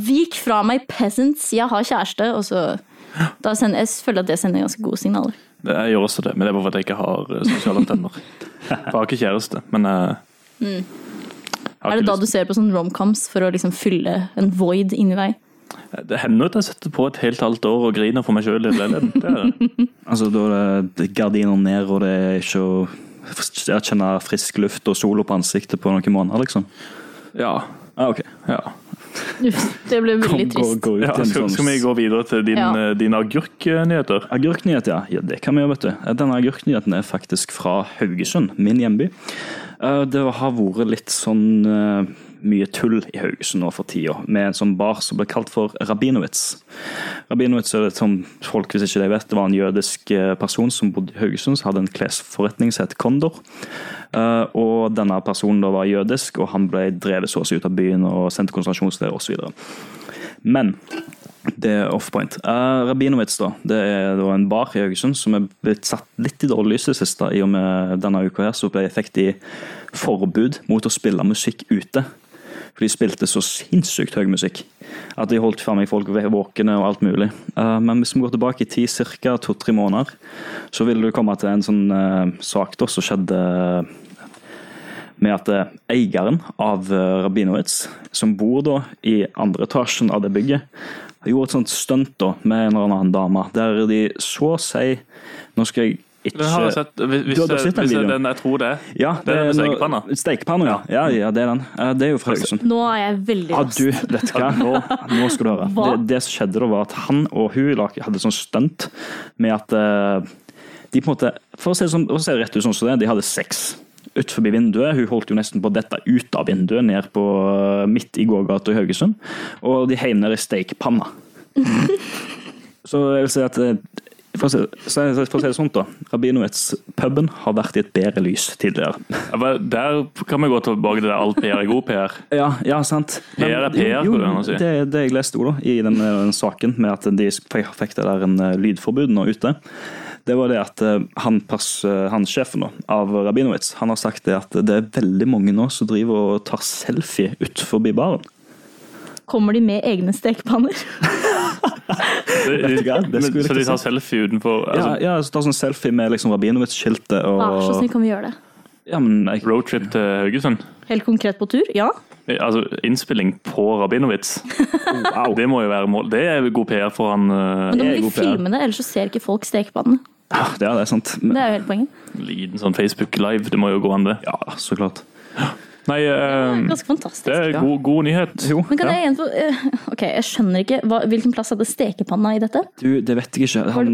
[SPEAKER 2] Vik fra meg, peasants! Jeg har kjæreste! Og så da sender, Jeg føler at det sender ganske gode signaler.
[SPEAKER 3] Det- Jeg gjør også det, men det er bare fordi jeg ikke har eh, sosiale antenner. For jeg har ikke kjæreste, men eh, jeg har
[SPEAKER 2] Mm. Er det
[SPEAKER 3] ikke
[SPEAKER 2] da du ser på sånn romcoms for å liksom fylle en void inni deg?
[SPEAKER 3] lyst- Det hender at jeg sitter på et helt halvt år og griner for meg sjøl i leiligheten. Det er det.
[SPEAKER 1] Altså, da er det gardiner ned, og det er ikke å jeg kjenner frisk luft og sola på ansiktet på noen måneder, liksom.
[SPEAKER 3] Ja.
[SPEAKER 1] Ah, ok.
[SPEAKER 3] ja.
[SPEAKER 2] Uff, det ble veldig
[SPEAKER 1] Kom, gå,
[SPEAKER 2] trist.
[SPEAKER 1] gå ut
[SPEAKER 3] Ja,
[SPEAKER 1] i en
[SPEAKER 3] skal,
[SPEAKER 1] sånn
[SPEAKER 3] skal vi gå videre til din,
[SPEAKER 2] Ja.
[SPEAKER 3] eh, dine agurknyheter?
[SPEAKER 1] Agurknyhet, ja. ja. Det kan vi gjøre, vet du. Denne agurknyheten er faktisk fra Haugesund, min hjemby. Eh, Det har vært litt sånn eh, mye tull i Haugesund nå for tida, med en sånn bar som ble kalt for Rabinowitz. Rabinowitz er det som folk, hvis ikke de vet, det var en jødisk eh, person som bodde i Haugesund, som hadde en klesforretning som het Kondor. Eh, Og denne personen da var jødisk, og han ble drevet så å si ut av byen og sendt til konsentrasjonsleir osv. Men det er off-point. Uh, Rabinowitz da, det er da en bar i Haugesund som er blitt satt litt i dårlig lys i det siste. I og med denne uka her så ble fikk de forbud mot å spille musikk ute. For de spilte så sinnssykt høy musikk at de holdt faen meg folk våkne og alt mulig. Eh, men hvis vi går tilbake i tid, ca. to-tre måneder, så vil du komme til en sånn eh, sak da som skjedde med at eh, eieren av eh, Rabinowitz, som bor da i andre etasjen av det bygget, gjorde et sånt stunt da med en eller annen dame, der de så å si Nå skal jeg ikke
[SPEAKER 3] Den har jeg sett, hvis,
[SPEAKER 1] Du har- du har sett den
[SPEAKER 3] hvis det er
[SPEAKER 1] videoen?
[SPEAKER 3] den jeg tror det er.
[SPEAKER 1] Ja,
[SPEAKER 3] det er den med
[SPEAKER 1] nå-
[SPEAKER 3] stekepanna.
[SPEAKER 1] Stekepanna, ja. ja. Ja, det er den. Eh, Det er jo fra Haugesund.
[SPEAKER 2] Nå er jeg veldig
[SPEAKER 1] Ja,
[SPEAKER 2] lost.
[SPEAKER 1] du, vet du hva? Nå, nå skal du høre. Det,
[SPEAKER 2] Hva?
[SPEAKER 1] det som skjedde da, var at han og hun lag- hadde sånn stunt med at eh, de på en måte, for å se det, sånn, for å se det rett ut sånn som det, er, de hadde sex utenfor vinduet. Hun holdt jo nesten på å dette ut av vinduet, ned på eh, midt i gågata i Haugesund. Og de heiv ned i stekepanna. Så jeg vil si at eh, for å, si, så jeg- for å si det sånn, da. Rabinowitz-puben har vært i et bedre lys tidligere.
[SPEAKER 3] Ja, men Der kan vi gå tilbake til det alt PR er god PR.
[SPEAKER 1] Ja, ja sant.
[SPEAKER 3] PR er PR,
[SPEAKER 1] jo,
[SPEAKER 3] får du gjerne si.
[SPEAKER 1] Det er det jeg leste også, da, i den, eh, den saken med at de f- fikk det der en eh, lydforbud nå ute. Det var det at eh, han, pass, eh, han sjefen da, av Rabinowitz han har sagt det at det er veldig mange nå som driver og tar selfie utenfor baren.
[SPEAKER 2] Kommer de med egne stekepanner?
[SPEAKER 3] Det,
[SPEAKER 1] du hva? Det
[SPEAKER 3] men-
[SPEAKER 1] skulle jeg
[SPEAKER 3] så de
[SPEAKER 1] ikke
[SPEAKER 3] tar
[SPEAKER 1] si.
[SPEAKER 3] selfie utenfor altså,
[SPEAKER 1] Ja, ja, så tar sånn selfie med liksom Rabinowitz-skiltet og
[SPEAKER 2] Vær så snill, kan vi gjøre det?
[SPEAKER 1] Ja, men jeg,
[SPEAKER 3] roadtrip til Haugesund?
[SPEAKER 2] Helt konkret på tur? Ja.
[SPEAKER 3] Altså innspilling på Rabinowitz.
[SPEAKER 1] wow.
[SPEAKER 3] Det må jo være mål. Det er god PR for han eh,
[SPEAKER 2] Men da
[SPEAKER 1] Det
[SPEAKER 2] må
[SPEAKER 1] er
[SPEAKER 2] de
[SPEAKER 1] god PR.
[SPEAKER 2] filme det, ellers så ser ikke folk stekepannene.
[SPEAKER 1] Ja, det er det, sant. Men,
[SPEAKER 2] Det er jo helt poenget.
[SPEAKER 3] liten sånn Facebook Live. Det må jo gå an, det.
[SPEAKER 1] ja, så klart.
[SPEAKER 3] Nei,
[SPEAKER 1] Um,
[SPEAKER 3] eh,
[SPEAKER 2] Ganske fantastisk.
[SPEAKER 3] det er
[SPEAKER 1] ja.
[SPEAKER 3] god, god nyhet.
[SPEAKER 1] Jo.
[SPEAKER 2] Men kan
[SPEAKER 3] Ja.
[SPEAKER 2] jeg igjen få eh, Ok, jeg skjønner ikke. Hva, hvilken plass hadde stekepanna i dette?
[SPEAKER 1] Du, det vet jeg ikke. Han,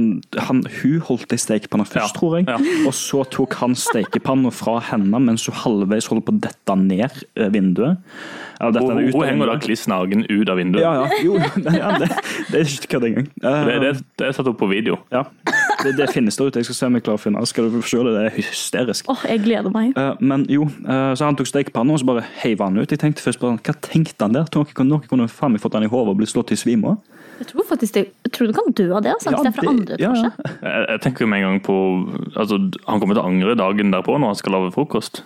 [SPEAKER 1] han, hun holdt ei stekepanne først,
[SPEAKER 3] Ja,
[SPEAKER 1] tror jeg.
[SPEAKER 3] ja.
[SPEAKER 1] Og så tok han stekepanna fra henne mens hun halvveis holdt på å dette ned eh, vinduet. Ja, dette
[SPEAKER 3] Hun,
[SPEAKER 1] er
[SPEAKER 3] hun,
[SPEAKER 1] ut av
[SPEAKER 3] henger da
[SPEAKER 1] vinduet.
[SPEAKER 3] kliss naken ut av vinduet.
[SPEAKER 1] Ja, ja. Jo, ja, det, det er ikke kødd engang. Eh,
[SPEAKER 3] Det, det, det er satt opp på video.
[SPEAKER 1] Ja. Det, det finnes der ute. Jeg skal se om jeg klarer å finne det. Skal du se det? Det er hysterisk.
[SPEAKER 2] Åh, jeg gleder meg.
[SPEAKER 1] Eh, Men jo, eh, så han tok stekepanna og så bare heiv han ut. Jeg tenkte først bare, Hva tenkte han der? Tror dere noen kunne faen meg fått han i hodet og blitt slått i svime?
[SPEAKER 2] Jeg tror faktisk det, jeg tror du kan dø av det, altså, hvis det er fra andre
[SPEAKER 1] ja,
[SPEAKER 2] etasje.
[SPEAKER 1] ja.
[SPEAKER 3] Jeg, jeg tenker med en gang på altså, Han kommer til å angre dagen derpå når han skal lage frokost.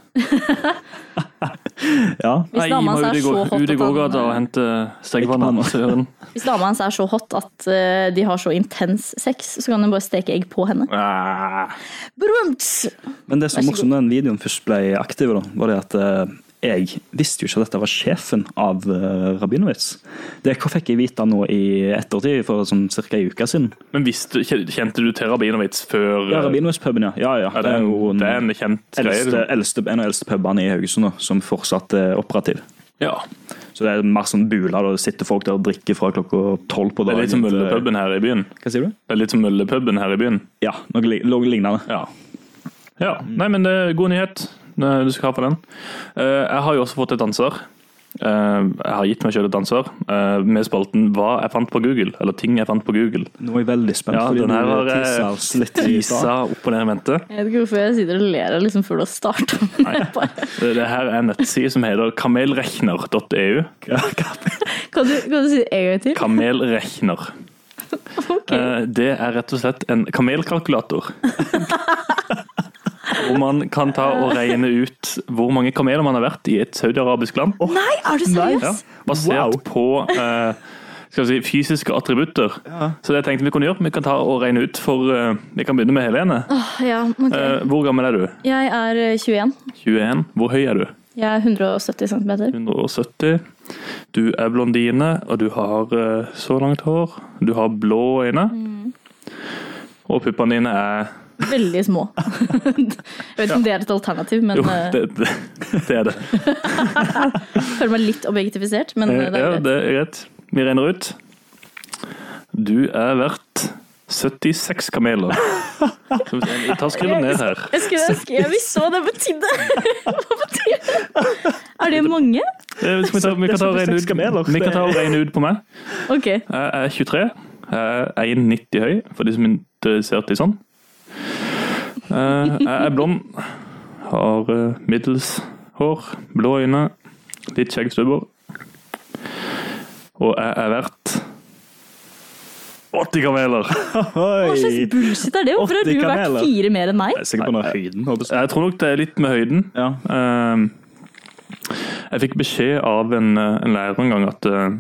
[SPEAKER 1] ja.
[SPEAKER 2] Hvis dama hans er så hot
[SPEAKER 3] ut i
[SPEAKER 2] at han-
[SPEAKER 3] gågata og hente stekepanna. Søren.
[SPEAKER 2] Hvis dama hans er så hot at eh, de har så intens sex, så kan hun bare steke egg på henne.
[SPEAKER 3] Ah.
[SPEAKER 2] Brumts!
[SPEAKER 1] Men det som
[SPEAKER 2] Vær så
[SPEAKER 1] var morsomt da den videoen først ble aktiv, da, var det at eh, jeg visste jo ikke at dette var sjefen av eh, Rabinowitz. Det fikk jeg vite nå i ettertid, for sånn ca. ei uke siden.
[SPEAKER 3] Men visste, kjente du til Rabinowitz før
[SPEAKER 1] Ja, Rabinowitz-puben, ja. Ja, ja.
[SPEAKER 3] Ja, det, er en, det er en kjent greie.
[SPEAKER 1] eldste,
[SPEAKER 3] liksom.
[SPEAKER 1] eldste, en av de eldste pubene i Haugesund da, som fortsatt er operativ.
[SPEAKER 3] Ja.
[SPEAKER 1] Så det er mer sånn bula, da det sitter folk der og drikker fra klokka tolv på
[SPEAKER 3] Det
[SPEAKER 1] dagen.
[SPEAKER 3] er litt som
[SPEAKER 1] til-
[SPEAKER 3] Møllepuben her i byen.
[SPEAKER 1] Hva sier du?
[SPEAKER 3] Det er litt som Møllepuben her i byen.
[SPEAKER 1] Ja, noe li- noe lignende.
[SPEAKER 3] Ja. ja. Nei, men det er god nyhet. Eh, Du skal ha på den. Eh, Jeg har jo også fått et ansvar. Eh, Jeg har gitt meg selv et ansvar eh, med spalten 'Hva jeg fant på Google', eller 'Ting jeg fant på Google'.
[SPEAKER 1] Nå er jeg veldig spent.
[SPEAKER 3] Ja,
[SPEAKER 1] fordi
[SPEAKER 3] den her
[SPEAKER 1] nå
[SPEAKER 3] har eh,
[SPEAKER 1] teaser oss litt i dag.
[SPEAKER 3] tisa opp og ned i mente.
[SPEAKER 2] Jeg vet ikke hvorfor jeg sitter og ler av liksom før du har starta.
[SPEAKER 3] Det det her er en nettside som heter E kamelrechner.eu.
[SPEAKER 1] Ja, hva-
[SPEAKER 2] Kan, du- kan du si det en gang til?
[SPEAKER 3] Kamelrechner. Eh, Det er rett og slett en kamelkalkulator. Hvor man kan ta og regne ut hvor mange kameler man har vært i et saudiarabisk land.
[SPEAKER 2] Nei, er du seriøs?
[SPEAKER 3] Ja, basert
[SPEAKER 1] Wow.
[SPEAKER 3] på eh, skal vi si, fysiske attributter. Så det jeg tenkte vi kunne gjøre, vi kan ta og regne ut for eh, Vi kan begynne med Helene.
[SPEAKER 2] Åh, ja, ok.
[SPEAKER 3] Eh, hvor gammel er du?
[SPEAKER 2] Jeg er eh, 21.
[SPEAKER 3] 21. Hvor høy er du?
[SPEAKER 2] Jeg er 170 cm.
[SPEAKER 3] 170. Du er blondine, og du har
[SPEAKER 2] Mm.
[SPEAKER 3] eh, så langt hår. Du har blå øyne. Og puppene dine er
[SPEAKER 2] Veldig små. Jeg vet ikke om det er et alternativ, men
[SPEAKER 3] Jo,
[SPEAKER 2] eh,
[SPEAKER 3] det, det, det er det.
[SPEAKER 2] føler meg litt objektifisert. Men eh, det
[SPEAKER 3] ja,
[SPEAKER 2] er greit.
[SPEAKER 3] det er greit. Vi regner ut. Du er verdt 76 kameler. Så hvis en- Jeg tar skriver ned her.
[SPEAKER 2] Jeg skulle ønske jeg visste hva det betydde! Hva betyr det? Er det mange?
[SPEAKER 3] Eh, skal Vi, ta, vi, kan, ta og regne
[SPEAKER 1] 76 kameler.
[SPEAKER 3] ut, vi kan ta og regne ut på meg.
[SPEAKER 2] Ok.
[SPEAKER 3] Jeg er 23. Jeg er 1,90 høy, for de som er interessert i sånn. Eh, Jeg er blond, har eh, middels hår, blå øyne, litt skjeggstubber. Og jeg er verdt 80 kameler!
[SPEAKER 2] Hva slags
[SPEAKER 1] Oi.
[SPEAKER 2] bullshit er det? Hvorfor har
[SPEAKER 1] 80
[SPEAKER 2] du vært
[SPEAKER 1] kameler.
[SPEAKER 2] fire mer enn meg?
[SPEAKER 1] Jeg er sikker på noe høyden. håper jeg.
[SPEAKER 3] Jeg tror nok det er litt med høyden.
[SPEAKER 1] Ja.
[SPEAKER 3] Eh, Jeg fikk beskjed av en, eh, en lærer en gang at, eh,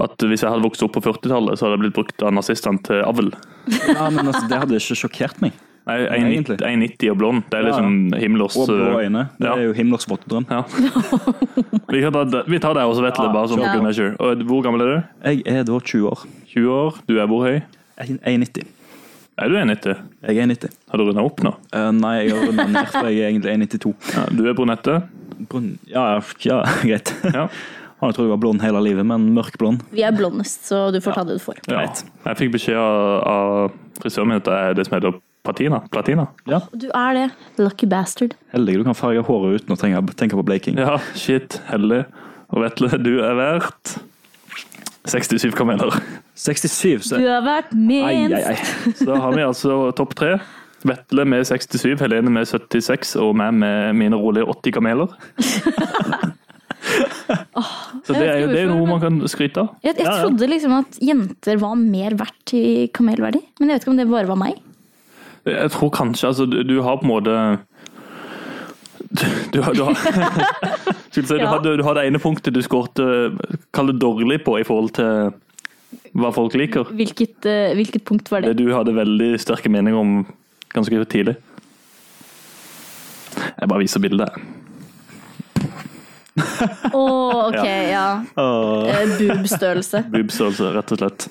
[SPEAKER 3] at hvis jeg hadde vokst opp på 40-tallet, så hadde jeg blitt brukt av nazistene til avl.
[SPEAKER 1] ja, men altså, Det hadde ikke sjokkert meg.
[SPEAKER 3] Nei, 1,90
[SPEAKER 1] Egentlig.
[SPEAKER 3] 1,90 og blond. Det
[SPEAKER 1] Ja,
[SPEAKER 3] er
[SPEAKER 1] ja.
[SPEAKER 3] liksom Himmlers
[SPEAKER 1] Og blå
[SPEAKER 3] eh,
[SPEAKER 1] øyne. Det
[SPEAKER 3] ja.
[SPEAKER 1] er jo Himmlers våtedrøm.
[SPEAKER 3] Ja. Vi, kan ta, det- vi tar deg også, vet du.
[SPEAKER 1] Ja,
[SPEAKER 3] Bare sånn
[SPEAKER 2] sure.
[SPEAKER 3] good measure. Og hvor gammel er du?
[SPEAKER 1] Jeg er da 20 år.
[SPEAKER 3] 20 år. Du er hvor høy?
[SPEAKER 1] Jeg er 90.
[SPEAKER 3] Er du 1,90?
[SPEAKER 1] Jeg er 90.
[SPEAKER 3] Har du runda opp nå?
[SPEAKER 1] Eh, nei, jeg har runda ned, for jeg er egentlig 1,92.
[SPEAKER 3] Ja, du er brunette.
[SPEAKER 1] Brun... Ja, ja, ja, greit.
[SPEAKER 3] Ja.
[SPEAKER 1] Han trodde jeg var blond hele livet, men mørk blond.
[SPEAKER 2] Vi er blondest, så du får ta det du får.
[SPEAKER 3] ja.
[SPEAKER 1] Greit.
[SPEAKER 3] Jeg fikk beskjed av, av frisøren min at det er det som heter patina. Platina.
[SPEAKER 1] Ja,
[SPEAKER 2] Du er det. Lucky bastard.
[SPEAKER 1] Heldig du kan farge håret uten å trenge, tenke på bleking.
[SPEAKER 3] Ja, shit. Heldig. Og Vetle, du er verdt 67 kameler.
[SPEAKER 1] 67,
[SPEAKER 2] Du
[SPEAKER 1] så
[SPEAKER 2] har vært
[SPEAKER 1] Ai, ai,
[SPEAKER 2] minst.
[SPEAKER 1] ai.
[SPEAKER 3] Så da har vi altså topp tre. Vetle med 67, Helene med 76 og meg med mine rolige 80 kameler. Så det er jo det er noe man kan skryte av.
[SPEAKER 2] Jeg, jeg
[SPEAKER 3] Ja, ja.
[SPEAKER 2] trodde liksom at jenter var mer verdt i kamelverdi, men jeg vet ikke om det bare var meg.
[SPEAKER 3] Jeg tror kanskje altså, du, du har på en måte du, du, har- du, har, Skulle si, du,
[SPEAKER 2] Ja.
[SPEAKER 3] har, du, har det ene punktet du skårte kall det dårlig på i forhold til hva folk liker.
[SPEAKER 2] Hvilket, eh, hvilket punkt var
[SPEAKER 3] Det
[SPEAKER 2] det?
[SPEAKER 3] du hadde veldig sterke meninger om ganske tidlig. Jeg bare viser bildet. her.
[SPEAKER 2] Å, ok, ja. Eh, Boobstørrelse.
[SPEAKER 3] Boobstørrelse, rett og slett.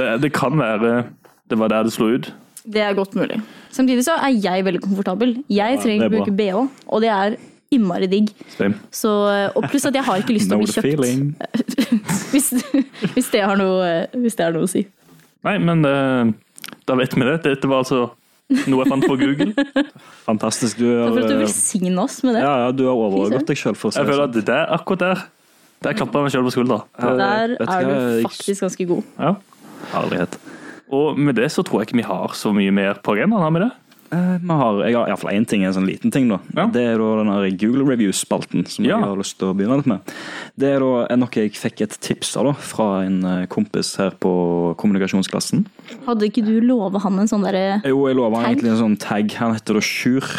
[SPEAKER 3] Det, det kan være det var der det slo ut.
[SPEAKER 2] Det er godt mulig. Samtidig så er jeg veldig komfortabel. Jeg trenger
[SPEAKER 1] det er
[SPEAKER 2] ikke bruke bh, og det er innmari digg.
[SPEAKER 3] Same.
[SPEAKER 2] Så, eh, og pluss at jeg har ikke lyst til
[SPEAKER 1] No
[SPEAKER 2] å bli kjøpt.
[SPEAKER 1] feeling.
[SPEAKER 2] Hvis, hvis, det har noe, eh, hvis det har noe å si.
[SPEAKER 3] Nei, men eh, da vet vi det. Dette var altså noe jeg fant på Google.
[SPEAKER 1] Fantastisk. Du
[SPEAKER 2] Takk
[SPEAKER 1] har,
[SPEAKER 2] for at du
[SPEAKER 1] eh,
[SPEAKER 2] velsigner oss med det.
[SPEAKER 1] ja, ja, du har overgått deg sjøl, for å si
[SPEAKER 3] Jeg
[SPEAKER 1] det
[SPEAKER 3] føler
[SPEAKER 1] sånn.
[SPEAKER 3] at det er akkurat der. Der klapper jeg meg sjøl på skuldra.
[SPEAKER 2] Der
[SPEAKER 1] vet du
[SPEAKER 2] er
[SPEAKER 1] hva,
[SPEAKER 2] du
[SPEAKER 1] jeg-
[SPEAKER 2] faktisk ganske god.
[SPEAKER 3] Ja.
[SPEAKER 1] Herlighet.
[SPEAKER 3] Og med det så tror jeg ikke vi har så mye mer på agendaen, har vi det?
[SPEAKER 1] Eh, Vi har, jeg har iallfall én ting, en sånn liten ting. da.
[SPEAKER 3] Ja.
[SPEAKER 1] Det er da den her Google Reviews-spalten som
[SPEAKER 3] Ja.
[SPEAKER 1] jeg har lyst til å begynne litt med. Det er da er noe jeg fikk et tips av da, fra en eh, kompis her på kommunikasjonsklassen.
[SPEAKER 2] Hadde ikke du lova han en sånn derre
[SPEAKER 1] Jo, jeg lover han
[SPEAKER 2] Tag?
[SPEAKER 1] egentlig en sånn tag. Han heter da Sjur.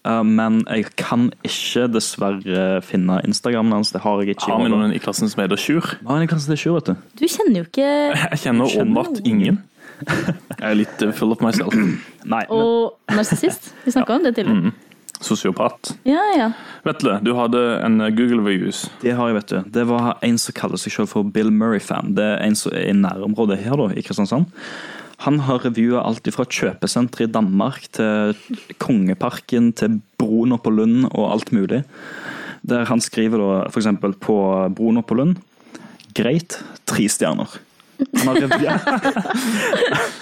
[SPEAKER 1] eh, Men jeg kan ikke dessverre finne Instagrammen hans. Det har jeg ikke. i
[SPEAKER 3] Har vi
[SPEAKER 1] år, da.
[SPEAKER 3] noen i klassen som heter Sjur?
[SPEAKER 1] Hva er det kanskje det er Sjur, vet du?
[SPEAKER 2] Du kjenner jo ikke
[SPEAKER 3] Jeg kjenner åpenbart ingen. Jeg er litt eh, full of myself.
[SPEAKER 1] Nei, men
[SPEAKER 2] Og narsissist. Vi snakka om det tidligere.
[SPEAKER 3] Sosiopat.
[SPEAKER 2] Ja, ja.
[SPEAKER 3] Vetle, du hadde en eh, Google Reviews.
[SPEAKER 1] det har jeg, vet du. Det var en som kaller seg selv for Bill Murray-fan. Det er en som er i nærområdet her, da, i Kristiansand. Han har revua alt fra kjøpesenteret i Danmark til Kongeparken til Brona på Lund og alt mulig. Der han skriver da f.eks. på Brona på Lund Greit, tre stjerner. Han har revua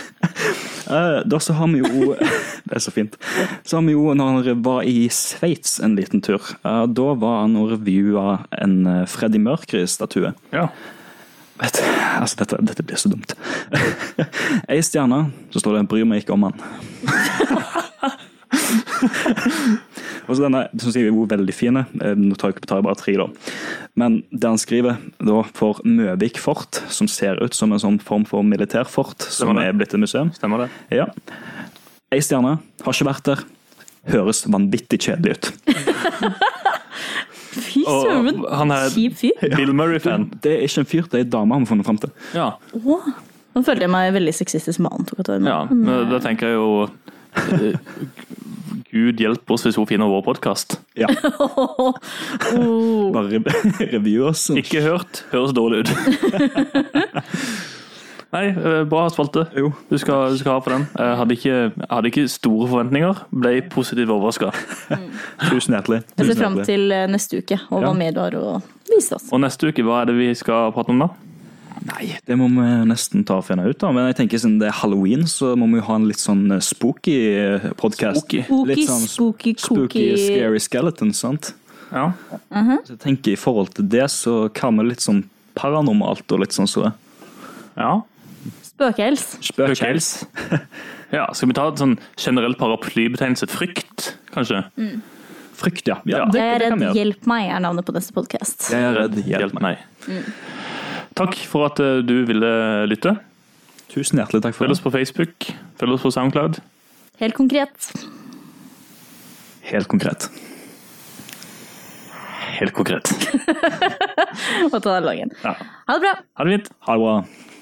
[SPEAKER 1] Eh, Da så har vi jo Det er så fint. Så har vi jo, når han var i Sveits en liten tur, eh, da var han og revua en eh, Freddie Mercury-statue.
[SPEAKER 3] Ja.
[SPEAKER 1] Vet du, altså dette, dette blir så dumt. Ei stjerne, så står det 'bryr meg ikke om han'. Og så Denne synes jeg er jo veldig fin. Eh, Nå tar jeg, tar jeg bare tre, da. Men det han skriver da for Møvik fort, som ser ut som en sånn form for militærfort, som
[SPEAKER 3] Stemmer det.
[SPEAKER 1] er blitt et museum
[SPEAKER 3] Stemmer det?
[SPEAKER 1] Ja. Ei stjerne, har ikke vært der. Høres vanvittig kjedelig ut.
[SPEAKER 2] Fy
[SPEAKER 3] Og-
[SPEAKER 2] søren,
[SPEAKER 3] og han er-
[SPEAKER 2] kjip fyr.
[SPEAKER 3] Bill Murray-fan.
[SPEAKER 1] Det er ikke en fyr, det er ei dame han har funnet fram til.
[SPEAKER 3] Ja.
[SPEAKER 2] Åh. Nå følte jeg meg veldig sexistisk med antok at det var
[SPEAKER 3] ja.
[SPEAKER 2] meg.
[SPEAKER 3] men Da tenker jeg jo eh, Gud hjelpe oss hvis hun finner vår podkast.
[SPEAKER 1] Ja,
[SPEAKER 2] Åh.
[SPEAKER 1] altså. Bare re- review oss.
[SPEAKER 3] Ikke hørt. Høres dårlig ut. Nei, eh, bra spalte.
[SPEAKER 1] Jo.
[SPEAKER 3] Du skal, du skal ha på den. Eh, hadde, ikke, hadde ikke store forventninger, ble positivt overraska.
[SPEAKER 1] Tusen hjertelig.
[SPEAKER 2] Jeg
[SPEAKER 1] Tusen
[SPEAKER 2] ser fram
[SPEAKER 1] hjertelig.
[SPEAKER 2] til eh, neste uke og
[SPEAKER 3] Ja.
[SPEAKER 2] hva mer du har å vise oss.
[SPEAKER 3] Og neste uke, hva er det vi skal prate om da?
[SPEAKER 1] Nei, det må vi nesten ta og finne ut av. Men jeg tenker siden det er halloween, så må vi jo ha en litt sånn eh, spooky podkast.
[SPEAKER 3] Spooky.
[SPEAKER 2] Spooky,
[SPEAKER 1] Litt sånn
[SPEAKER 2] spooky,
[SPEAKER 1] spooky,
[SPEAKER 2] kooky.
[SPEAKER 1] scary skeleton, sant?
[SPEAKER 3] Ja.
[SPEAKER 1] Så jeg tenker I forhold til det så kan vi litt sånn paranormalt og litt sånn så det.
[SPEAKER 3] ja.
[SPEAKER 2] Spøkels.
[SPEAKER 1] Spøkels.
[SPEAKER 3] ja. Skal vi ta en sånn generell paraplybetegnelse? Frykt, kanskje?
[SPEAKER 1] Mm. Frykt, ja.
[SPEAKER 3] Ja.
[SPEAKER 1] ja det,
[SPEAKER 2] Jeg er
[SPEAKER 1] det kan
[SPEAKER 2] redd
[SPEAKER 1] vi gjøre.
[SPEAKER 2] Hjelp meg er navnet på neste podkast.
[SPEAKER 1] Jeg er redd. Hjelp
[SPEAKER 3] Hjelp
[SPEAKER 1] meg.
[SPEAKER 3] meg. Takk for at eh, du ville lytte.
[SPEAKER 1] Tusen hjertelig takk for
[SPEAKER 3] Følg
[SPEAKER 1] det.
[SPEAKER 3] oss på Facebook. Følg oss på SoundCloud.
[SPEAKER 2] Helt konkret.
[SPEAKER 1] Helt konkret.
[SPEAKER 3] Helt konkret.
[SPEAKER 2] Og ta den langen.
[SPEAKER 3] Ja.
[SPEAKER 2] Ha det bra!
[SPEAKER 3] Ha det fint.
[SPEAKER 1] Ha det bra.